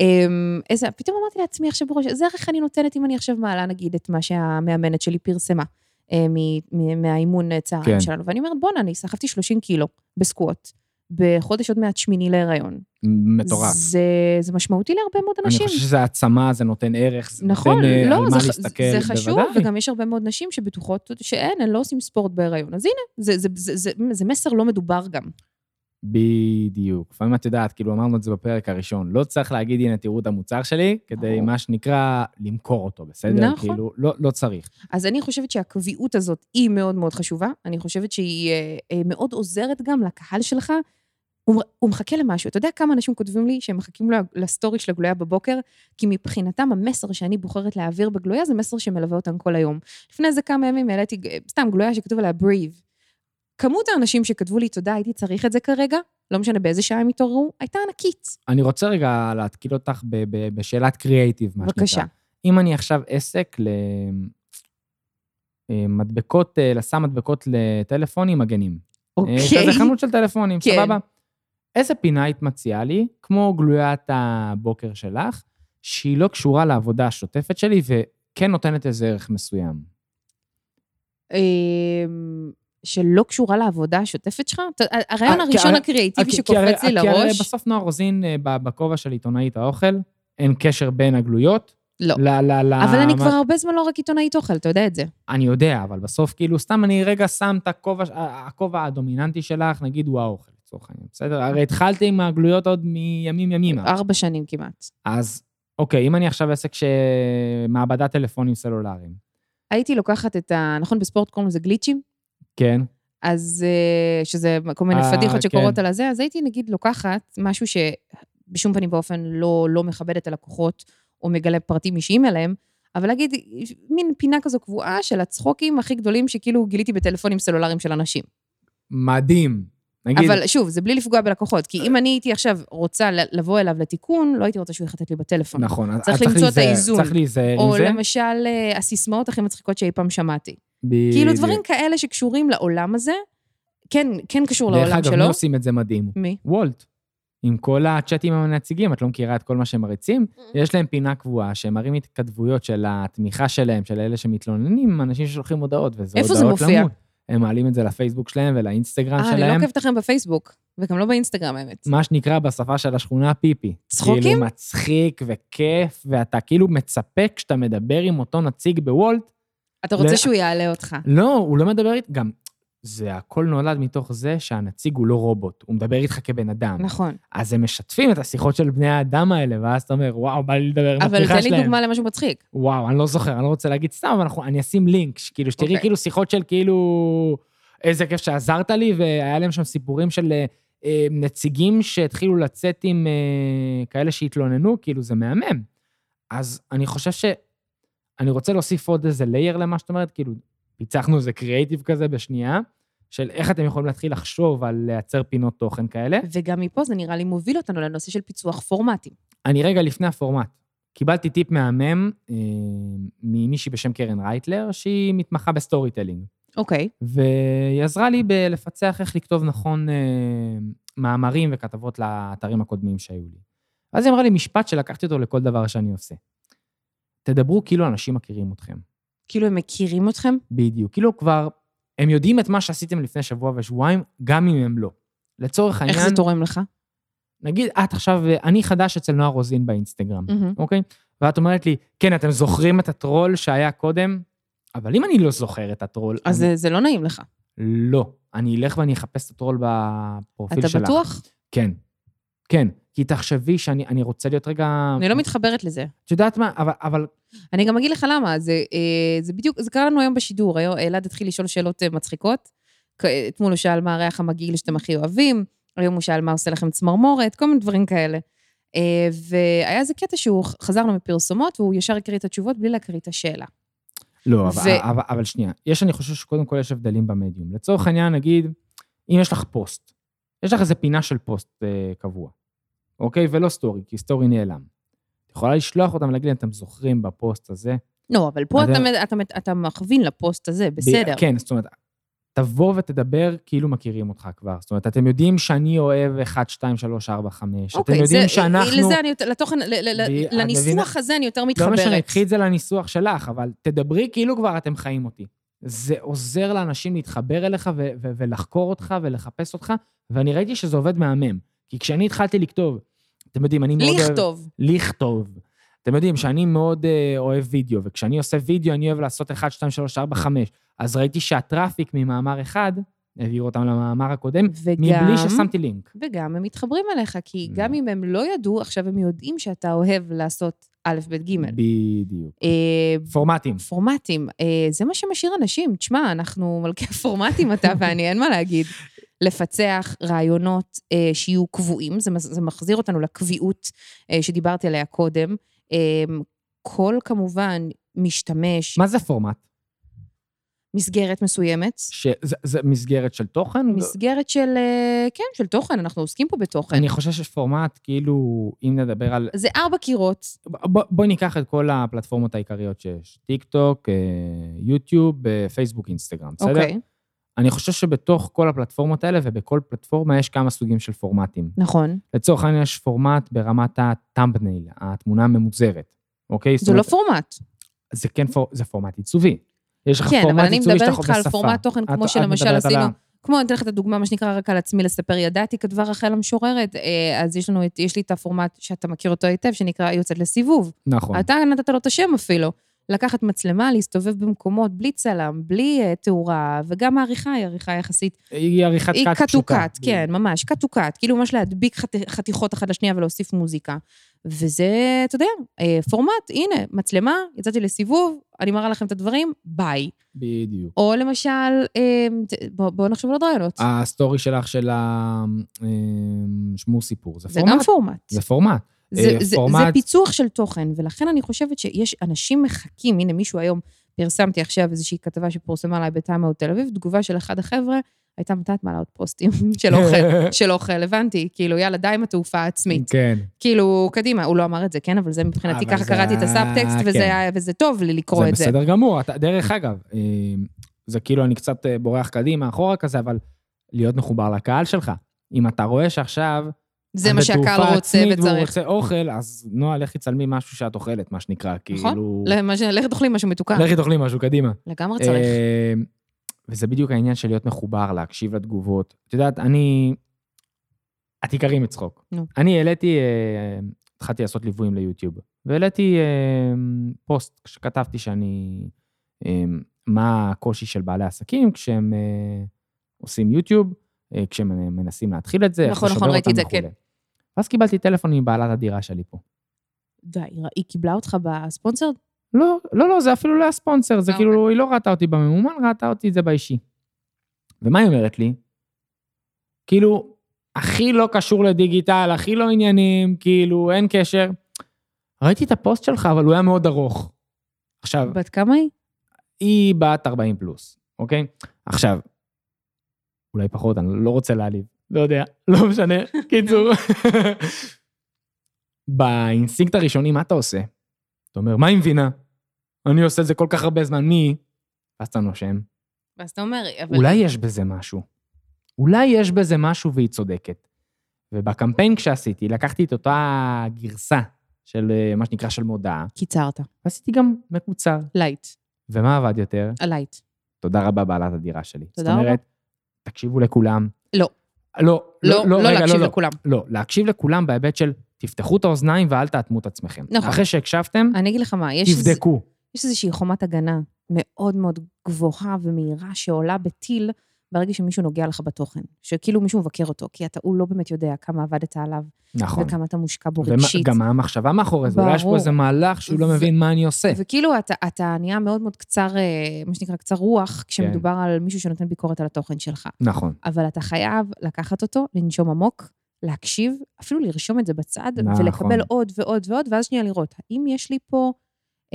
אמ, איזה, פתאום אמרתי לעצמי עכשיו בראש, זה ערך אני נותנת אם אני עכשיו מעלה, נגיד, את מה שהמאמנת שלי פרסמה אה, מ- מ- מהאימון אה, צהריים
כן.
שלנו. ואני אומרת, בואנה, אני סחבתי 30 קילו בסקוואט, בחודש עוד מעט שמיני להיריון.
מטורף.
זה, זה משמעותי להרבה מאוד
אני
אנשים.
חושב שזה העצמה, זה נותן ערך, זה
נכון,
נותן אה,
לא,
על
זה,
מה
ח-
להסתכל.
זה חשוב,
בוודאי.
וגם יש הרבה מאוד נשים שבטוחות שאין, הן לא עושים ספורט בהיריון. אז הנה, זה, זה, זה, זה, זה מסר לא מדובר גם.
בדיוק. לפעמים את יודעת, כאילו אמרנו את זה בפרק הראשון, לא צריך להגיד, הנה, תראו את המוצר שלי, כדי,
ברור.
מה שנקרא, למכור אותו, בסדר?
נכון.
כאילו, לא, לא צריך.
אז אני חושבת שהקביעות הזאת היא מאוד מאוד חשובה, אני חושבת שהיא אה, אה, מאוד עוזרת גם לקהל שלך. הוא, מ- הוא מחכה למשהו. אתה יודע כמה אנשים כותבים לי שהם מחכים ל- לסטורי של הגלויה בבוקר? כי מבחינתם המסר שאני בוחרת להעביר בגלויה זה מסר שמלווה אותם כל היום. לפני איזה כמה ימים העליתי ג- סתם גלויה שכתוב עליה breathe. כמות האנשים שכתבו לי תודה, הייתי צריך את זה כרגע, לא משנה באיזה שעה הם התעוררו, הייתה ענקית.
אני רוצה רגע להתקיל אותך ב- ב- בשאלת קריאייטיב, מה שנקרא. אה,
בבקשה.
אם אני עכשיו עסק למדבקות, לשם מדבקות לטלפונים מגנים.
אוקיי.
אה, כזה חנות של טלפונים,
כן.
סבבה. איזה פינה היית מציעה לי, כמו גלוית הבוקר שלך, שהיא לא קשורה לעבודה השוטפת שלי וכן נותנת איזה ערך מסוים?
אמ, שלא קשורה לעבודה השוטפת שלך? אתה- הרעיון
אה, כי
הראשון
הרי-
הקריאיטיבי
כי- כי הרי- אה,
שקופץ לי
כי הרי
לראש,
בסוף נועה רוזין, אה, ב- בכובע של עיתונאית האוכל, אין קשר בין הגלויות.
לא.
ל... ל... ל...
אבל אני
מה-
כבר הרבה זמן לא רק עיתונאית אוכל, אתה יודע את זה.
אני יודע, אבל בסוף, כאילו, סתם אני רגע שם את הכובע, ה- הכובע הדומיננטי שלך, נגיד הוא האוכל, לצורך העניין, בסדר? הרי התחלתי עם הגלויות עוד מימים ימימה.
ארבע שנים כמעט.
אז, אוקיי, אם אני עכשיו עסק שמעבדת טלפונים סלולריים,
הייתי לוקחת את ה... נכון, בספורט קוראים לזה גליצ'ים?
כן?
אז אה, שזה כל מיני
אה,
פדיחות שקורות
כן.
על הזה, אז הייתי נגיד לוקחת משהו שבשום פנים ואופן לא, לא מכבד את הלקוחות או מגלה פרטים אישיים אליהם, אבל להגיד, מין פינה כזו קבועה של הצחוקים הכי גדולים שכאילו גיליתי בטלפונים סלולריים של אנשים.
מדהים. נגיד,
אבל שוב, זה בלי לפגוע בלקוחות, כי אם אני הייתי עכשיו רוצה ל- לבוא אליו לתיקון, לא הייתי רוצה שהוא יחטט לי בטלפון.
נכון, אז
צריך
צריך
למצוא את
להיזהר,
האיזון.
צריך להיזהר עם
או
זה.
למשל, אה, הסיסמאות הכי מצחיקות שאי פעם שמעתי.
בדיוק.
כאילו, דברים כאלה שקשורים לעולם הזה, כן, כן קשור לעולם
דרך אגב, מי
שלו.
עושים את זה מדהים?
מי?
וולט. עם כל הצ'אטים הנציגים, את לא מכירה את כל מה שהם מריצים?
Mm.
יש להם פינה קבועה שהם מראים התכתבויות של התמיכה שלהם, של אלה שמתלוננים, אנשים ששולחים הודעות, וזה
איפה
הודעות
זה מופיע?
למות. הם מעלים את זה לפייסבוק שלהם ולאינסטגרם
אה, אני לא
שלהם.
עוקבת לכם בפייסבוק. וגם לא באינסטגרם, האמת.
מה שנקרא בשפה של השכונה פיפי.
צחוקים?
כאילו מצחיק וכיף, ואתה כאילו מצפה כשאתה מדבר עם אותו נציג בוולט,
אתה רוצה
ל-
שהוא יעלה אותך.
לא, הוא לא מדבר איתך, גם זה הכל נולד מתוך זה שהנציג הוא לא רובוט, הוא מדבר איתך כבן אדם.
נכון.
אז הם משתפים את השיחות של בני האדם האלה, ואז אתה אומר, וואו, בא לי לדבר עם
אבל
הפתיחה
תן
שלהם.
לי דוגמה למשהו מצחיק.
וואו, אני לא זוכר, אני לא רוצה להגיד סתם, אבל אנחנו, אני אשים לינק, ש- כאילו, שתראי
אוקיי.
כאילו שיחות של כאילו, איזה כיף שעזרת לי, והיה להם שם סיפורים של אה, אה, נציגים שהתחילו לצאת עם אה, כאלה שהתלוננו, כאילו, זה מהמם. אז אני חושב ש... אני רוצה להוסיף עוד איזה לייר למה שאת אומרת, כאילו, פיצחנו איזה קריאיטיב כזה בשנייה, של איך אתם יכולים להתחיל לחשוב על לייצר פינות תוכן כאלה.
וגם מפה זה נראה לי מוביל אותנו לנושא של פיצוח פורמטים.
אני רגע לפני הפורמט. קיבלתי טיפ מהמם אה, ממישהי בשם קרן רייטלר, שהיא מתמחה בסטורי טלינג,
אוקיי.
והיא עזרה לי בלפצח איך לכתוב נכון אה, מאמרים וכתבות לאתרים הקודמים שהיו לי. אז היא אמרה לי משפט שלקחתי אותו לכל דבר שאני עושה. תדברו כאילו אנשים מכירים אתכם.
כאילו הם מכירים אתכם?
בדיוק. כאילו כבר, הם יודעים את מה שעשיתם לפני שבוע ושבועיים, גם אם הם לא. לצורך העניין,
איך זה תורם לך?
נגיד, את עכשיו, אה, אני חדש אצל נועה רוזין באינסטגרם.
מהמם.
אוקיי? ואת אומרת לי, כן, אתם זוכרים את הטרול שהיה קודם? אבל אם אני לא זוכר את הטרול...
אז
אני...
זה- זה לא נעים לך.
לא. אני אלך ואני אחפש את הטרול בפרופיל
אתה
שלך.
בטוח?
כן. כן. כי תחשבי שאני אני רוצה להיות רגע...
אני לא מתחברת לזה.
את יודעת מה? אבל, אבל
אני גם אגיד לך למה, זה, אה, זה בדיוק, זה קרה לנו היום בשידור, היום אלעד התחיל לשאול שאלות אה, מצחיקות. כ- אתמול הוא שאל מה הריח המגעיל שאתם הכי אוהבים, היום הוא שאל מה עושה לכם צמרמורת, כל מיני דברים כאלה. אה, והיה איזה קטע שהוא, חזרנו מפרסומות, והוא ישר הקריא את התשובות בלי להקריא את השאלה.
לא, אבל,
ו-
ו... אבל, אבל שנייה. יש, אני חושב שקודם כל יש הבדלים במדיום. לצורך העניין, נגיד, אם יש לך פוסט, יש לך איזו פינה של פוסט אה, קבוע, אוקיי? ולא סטורי, כי סטורי נעלם. את יכולה לשלוח אותם ולהגיד להם, אתם זוכרים בפוסט הזה?
לא, אבל פה
אז-
אתה, אתה, אתה, מ- אתה מכווין לפוסט הזה, בסדר.
ב- כן, זאת אומרת, תבוא ותדבר כאילו מכירים אותך כבר. זאת אומרת, אתם יודעים שאני אוהב 1, 2, 3, 4, 5. אתם יודעים שאנחנו...
אוקיי, לזה אני, יותר- לתוכן, ל- ל- ל-
ב- את
לניסוח
מבינה?
הזה אני יותר
לא
מתחברת.
משנה, קחי את זה לניסוח שלך, אבל תדברי כאילו כבר אתם חיים אותי. זה עוזר לאנשים להתחבר אליך ו- ו- ולחקור אותך ולחפש אותך, ואני ראיתי שזה עובד מהמם. כי כשאני התחלתי לכתוב, אתם יודעים, אני מאוד אוהב...
לכתוב.
לכתוב. אתם יודעים שאני מאוד אה, אוהב וידאו, וכשאני עושה וידאו אני אוהב לעשות 1, 2, 3, 4, 5. אז ראיתי שהטראפיק ממאמר אחד, העבירו אותם למאמר הקודם,
וגם...
מבלי ששמתי לינק.
וגם הם מתחברים אליך, כי
Mm.
גם אם הם לא ידעו, עכשיו הם יודעים שאתה אוהב לעשות א', ב', ג'.
Mm. בדיוק.
אה,
פורמטים.
פורמטים, אה, זה מה שמשאיר אנשים. תשמע, אנחנו מלכי הפורמטים, אתה ואני, אין מה להגיד. לפצח רעיונות אה, שיהיו קבועים, זה, מז- זה מחזיר אותנו לקביעות אה, שדיברתי עליה קודם. אה, כל כמובן משתמש,
מה זה פורמט?
מסגרת מסוימת,
ש... לא. זה, זה מסגרת של תוכן?
מסגרת של, אה, כן, של תוכן, אנחנו עוסקים פה בתוכן.
אני חושב שפורמט, כאילו, אם נדבר על...
זה ארבע קירות,
בואי בוא ניקח את כל הפלטפורמות העיקריות שיש. טיק טוק, אה, יוטיוב, אה, פייסבוק, אינסטגרם, בסדר?
אוקיי,
אני חושב שבתוך כל הפלטפורמות האלה ובכל פלטפורמה יש כמה סוגים של פורמטים.
נכון.
לצורך העניין יש פורמט ברמת הטמפנייל, התמונה הממוזרת, אוקיי? זאת
זה לא
אומרת,
פורמט.
זה כן פור... זה פורמט עיצובי. יש לך
כן, אבל
פורמט
אני
עיצובי שאתה
מדברת
חווה
איתך
שפה.
על פורמט תוכן, כמו
את- את
שלמשל
מדברת על ה-
עשינו- כמו, אני אתן לך את הדוגמה, מה שנקרא, רק על עצמי לספר ידעתי, כתבה רחל המשוררת, אה, אז יש לנו, את- יש לי את הפורמט שאתה מכיר אותו היטב, שנקרא יוצאת לסיבוב.
נכון.
אתה נתת לו את השם אפילו. לקחת מצלמה, להסתובב במקומות בלי צלם, בלי אה, תאורה, וגם העריכה היא עריכה יחסית.
היא עריכת
היא
קאט פשוטה.
קטוקט, כן, ממש, קטוקט. כאילו ממש להדביק חת- חתיכות אחת לשנייה ולהוסיף מוזיקה. וזה, אתה יודע, אה, פורמט, הנה, מצלמה, יצאתי לסיבוב, אני מראה לכם את הדברים, ביי.
בדיוק.
או למשל, אמ, ת- בוא- בואו נחשוב על עוד רעיונות.
אה, הסטורי שלך של ה... אמ, שמור סיפור, זה
זה
פורמט.
גם פורמט.
זה פורמט.
זה- זה- זה
פורמט-
פיצוח של תוכן, ולכן אני חושבת שיש אנשים מחכים, הנה מישהו היום, פרסמתי עכשיו איזושהי כתבה שפורסמה עליי בטעם מאוד תל אביב, תגובה של אחד החבר'ה, הייתה מתי את מעלה עוד פוסטים של אוכל, של אוכל, הבנתי, כאילו, יאללה, די עם התעופה העצמית.
כן.
כאילו, קדימה, הוא לא אמר את זה, כן, אבל זה מבחינתי,
אבל
ככה
זה
קראתי את
ה-
הסאבטקסט, וזה
כן.
היה- וזה טוב לי לקרוא את זה.
זה בסדר גמור. אתה, דרך אגב, אה, זה כאילו אני קצת אה, בורח קדימה, אחורה כזה, אבל להיות מחובר לקהל שלך. אם אתה רואה שעכשיו...
זה
את
מה שהקהל
בתעופה
רוצה
עצמית והוא
וצריך.
רוצה אוכל, אז נועה, לכי תצלמי משהו שאת אוכלת, מה שנקרא.
נכון.
כאילו...
למה ש- לכי תאכלי משהו מתוקן.
לכי תאכלי משהו, קדימה.
לגמרי צריך.
אמ, אה, וזה בדיוק העניין של להיות מחובר, להקשיב לתגובות. את יודעת, אני... את עיקרי מצחוק.
נו.
אני העליתי, אה, התחלתי לעשות ליוויים ליוטיוב, והעליתי אה, פוסט שכתבתי שאני, אה, מה הקושי של בעלי עסקים כשהם אה, עושים יוטיוב, אה, כשהם מנסים להתחיל את זה, איך
נכון,
לשבר
נכון, ראיתי
אותם
את זה,
וכולי. ואז קיבלתי טלפון מבעלת הדירה שלי פה.
די, היא קיבלה אותך בספונסר?
לא, לא, לא, זה אפילו לא היה ספונסר, זה
אה,
כאילו, היא לא ראתה אותי בממומן, ראתה אותי את זה באישי. ומה היא אומרת לי? כאילו, הכי לא קשור לדיגיטל, הכי לא עניינים, כאילו, אין קשר. ראיתי את הפוסט שלך, אבל הוא היה מאוד ארוך. עכשיו,
בת כמה היא?
היא בת 40 פלוס, אוקיי? עכשיו, אולי פחות, אני לא רוצה להעליב, לא יודע, לא משנה, קיצור. באינסטינקט הראשוני, מה אתה עושה? אתה אומר, מה היא מבינה? אני עושה את זה כל כך הרבה זמן, מי היא? ואז אתה נושם.
ואז אתה אומר, אבל...
אולי יש בזה משהו. אולי יש בזה משהו והיא צודקת. ובקמפיין כשעשיתי, לקחתי את אותה גרסה של אה, מה שנקרא של מודעה,
קיצרת.
ועשיתי גם מקוצר.
לייט.
ומה עבד יותר?
הלייט.
תודה רבה, בעלת הדירה שלי.
תודה
זאת אומרת, תקשיבו לכולם.
לא.
לא,
לא, לא
רגע,
להקשיב לכולם.
לא, להקשיב לכולם בהיבט של תפתחו את האוזניים ואל תאטמו את עצמכם.
נכון.
אחרי שהקשבתם,
אני אגיד לך מה, יש איזה-
תבדקו.
יש איזושהי חומת הגנה מאוד מאוד גבוהה ומהירה שעולה בטיל ברגע שמישהו נוגע לך בתוכן. שכאילו מישהו מבקר אותו, כי אתה, הוא לא באמת יודע כמה עבדת עליו,
נכון.
וכמה אתה מושקע בו
ומה-
רגשית.
גם מה המחשבה מאחורי זה, אולי יש פה
ברור.
איזה מהלך שהוא לא
ו-
מבין מה אני עושה.
וכאילו אתה, אתה נהיה מאוד מאוד קצר, אה, מה שנקרא, קצר רוח, כשמדובר על מישהו שנותן ביקורת על התוכן שלך.
נכון.
אבל אתה חייב לקחת אותו, לנשום עמוק, להקשיב, אפילו לרשום את זה בצד,
נכון.
ולקבל עוד ועוד ועוד, ואז שנייה לראות, האם יש לי פה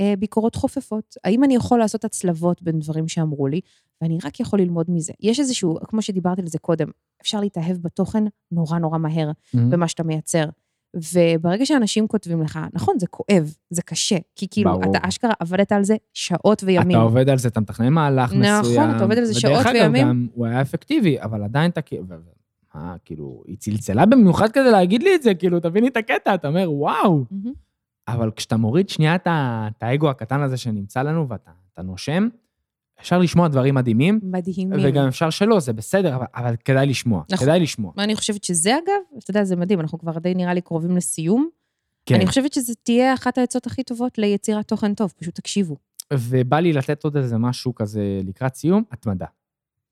אה, ביקורות חופפות? האם אני יכול לעשות הצלבות בין דברים שאמרו לי? ואני רק יכול ללמוד מזה. יש איזשהו, כמו שדיברתי על זה קודם, אפשר להתאהב בתוכן נורא נורא מהר, במה שאתה מייצר. וברגע שאנשים כותבים לך, נכון, זה כואב, זה קשה, כי כאילו,
ברור.
אתה אשכרה עבדת על זה שעות וימים.
אתה עובד על זה, אתה מתכנן מהלך
נכון,
מסוים.
אתה עובד על זה שעות
ודרך אגב,
וימים.
גם הוא היה אפקטיבי, אבל עדיין אתה כאילו... ו- ו- מה, כאילו, היא צלצלה במיוחד כדי להגיד לי את זה, כאילו, תביני את הקטע, אתה אומר, וואו.
מהמם.
אבל כשאתה מוריד שנייה את ה- את האגו הקטן הזה שנמצא לנו ואתה אתה נושם, אפשר לשמוע דברים מדהימים,
מדהימים.
וגם אפשר שלא, זה בסדר, אבל, אבל כדאי לשמוע.
נכון.
כדאי לשמוע.
מה אני חושבת שזה, אגב, אתה יודע, זה מדהים, אנחנו כבר די נראה לי קרובים לסיום.
כן.
אני חושבת שזה תהיה אחת העצות הכי טובות ליצירת תוכן טוב, פשוט תקשיבו.
כן. ובא לי לתת עוד איזה משהו כזה לקראת סיום, התמדה.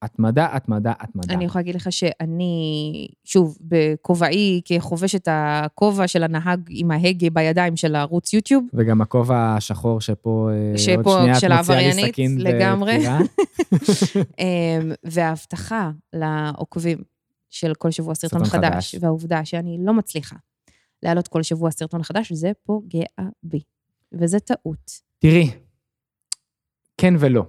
התמדה, התמדה, התמדה.
אני יכולה להגיד לך שאני, שוב, בכובעי כחובשת הכובע של הנהג עם ההגה בידיים של הערוץ יוטיוב,
וגם הכובע השחור שפה, אה,
שפה,
עוד
של
שנייה את מוציאה לי
העבריינית,
סכין
לגמרי.
בדקירה.
אמ, וההבטחה לעוקבים של כל שבוע סרטון
סרטון
חדש,
חדש.
והעובדה שאני לא מצליחה להעלות כל שבוע סרטון חדש, זה פוגע בי. וזה טעות.
תראי, כן ולא.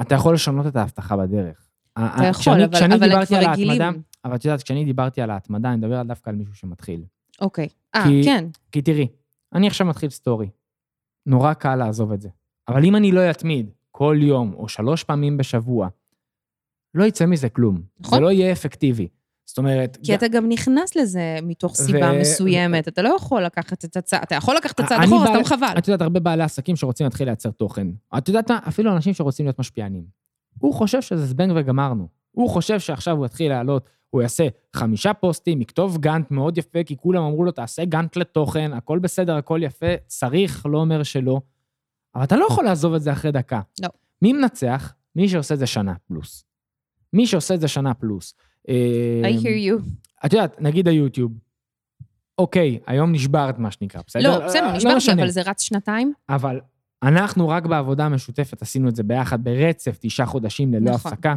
אתה יכול לשנות את ההבטחה בדרך.
אתה יכול,
אה, כשאני-
אבל-
כשאני
אבל הם
דיברתי
כבר
על
רגילים.
ההתמדה- אבל את יודעת, כשאני דיברתי על ההתמדה, אני מדבר דווקא על מישהו שמתחיל.
אוקיי. אה,
כי-
כן.
כי תראי, אני עכשיו מתחיל סטורי. נורא קל לעזוב את זה. אבל אם אני לא אתמיד כל יום או שלוש פעמים בשבוע, לא יצא מזה כלום.
נכון.
זה לא יהיה אפקטיבי. זאת אומרת...
כי אתה גם נכנס לזה מתוך סיבה
ו-
מסוימת. אתה לא יכול לקחת את הצעד, אתה יכול לקחת את הצעד
אני
אחורה,
בעל-
סתם חבל.
את יודעת, הרבה בעלי עסקים שרוצים להתחיל לייצר תוכן. את יודעת מה? אפילו אנשים שרוצים להיות משפיענים. הוא חושב שזה זבנג וגמרנו. הוא חושב שעכשיו הוא יתחיל לעלות, הוא יעשה חמישה פוסטים, יכתוב גאנט מאוד יפה, כי כולם אמרו לו, תעשה גאנט לתוכן, הכל בסדר, הכל יפה, צריך, לא אומר שלא. אבל אתה לא יכול לעזוב את זה אחרי דקה.
לא.
מי מנצח? מי שעושה את זה שנה פלוס. מי שעושה את זה שנה פלוס. אה,
I hear you.
את יודעת, נגיד היוטיוב, אוקיי, היום נשברת, מה שנקרא, בסדר?
לא, בסדר,
לא
נשברתי,
משנה.
אבל זה רץ שנתיים.
אבל אנחנו רק בעבודה המשותפת עשינו את זה ביחד ברצף, תשעה חודשים ללא
נכון.
הפסקה.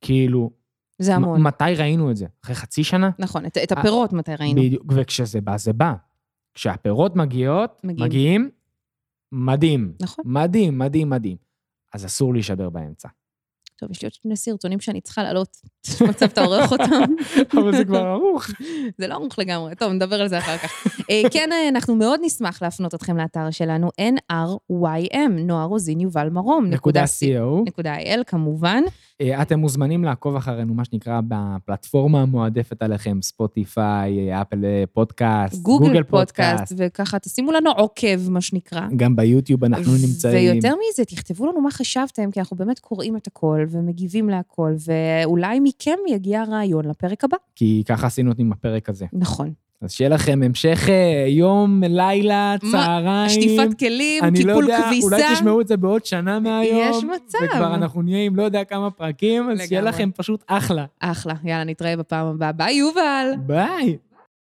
כאילו,
זה המון.
מ- מתי ראינו את זה? אחרי חצי שנה?
נכון, את את הפירות מתי ראינו.
אה, בדיוק, וכשזה בא, זה בא. כשהפירות מגיעות,
מגיעים.
מגיעים, מדהים.
נכון.
מדהים, מדהים, מדהים. אז אסור להישבר באמצע.
טוב, יש לי עוד שני סרטונים שאני צריכה לעלות. מצב אתה עורך אותם.
אבל זה כבר ערוך.
זה לא ערוך לגמרי, טוב, נדבר על זה אחר כך. אה, כן, אה, אנחנו מאוד נשמח להפנות אתכם לאתר שלנו, nrym, נוער רוזין יובל מרום,
נקודה
נקודה c,
co.
נקודה il, כמובן.
אה, אתם מוזמנים לעקוב אחרינו, מה שנקרא, בפלטפורמה המועדפת עליכם, ספוטיפיי, אה, אפל אה, פודקאסט,
גוגל פודקאסט, וככה תשימו לנו עוקב, מה שנקרא.
גם ביוטיוב אנחנו נמצאים.
ויותר מזה, תכתבו לנו מה חשבתם, כי אנחנו באמת קוראים את הכל, ומגיבים להכל, ואולי מכם יגיע רעיון לפרק הבא.
כי ככה עשינו עם הפרק הזה.
נכון.
אז שיהיה לכם המשך אה, יום, לילה, צהריים.
שטיפת כלים,
אני לא
טיפול
יודע,
כביסה.
אולי תשמעו את זה בעוד שנה מהיום.
יש מצב.
וכבר אנחנו נהיה עם לא יודע כמה פרקים, אז שיהיה
לגמרי.
לכם פשוט אחלה.
אחלה, יאללה, נתראה בפעם הבאה. ביי, יובל!
ביי.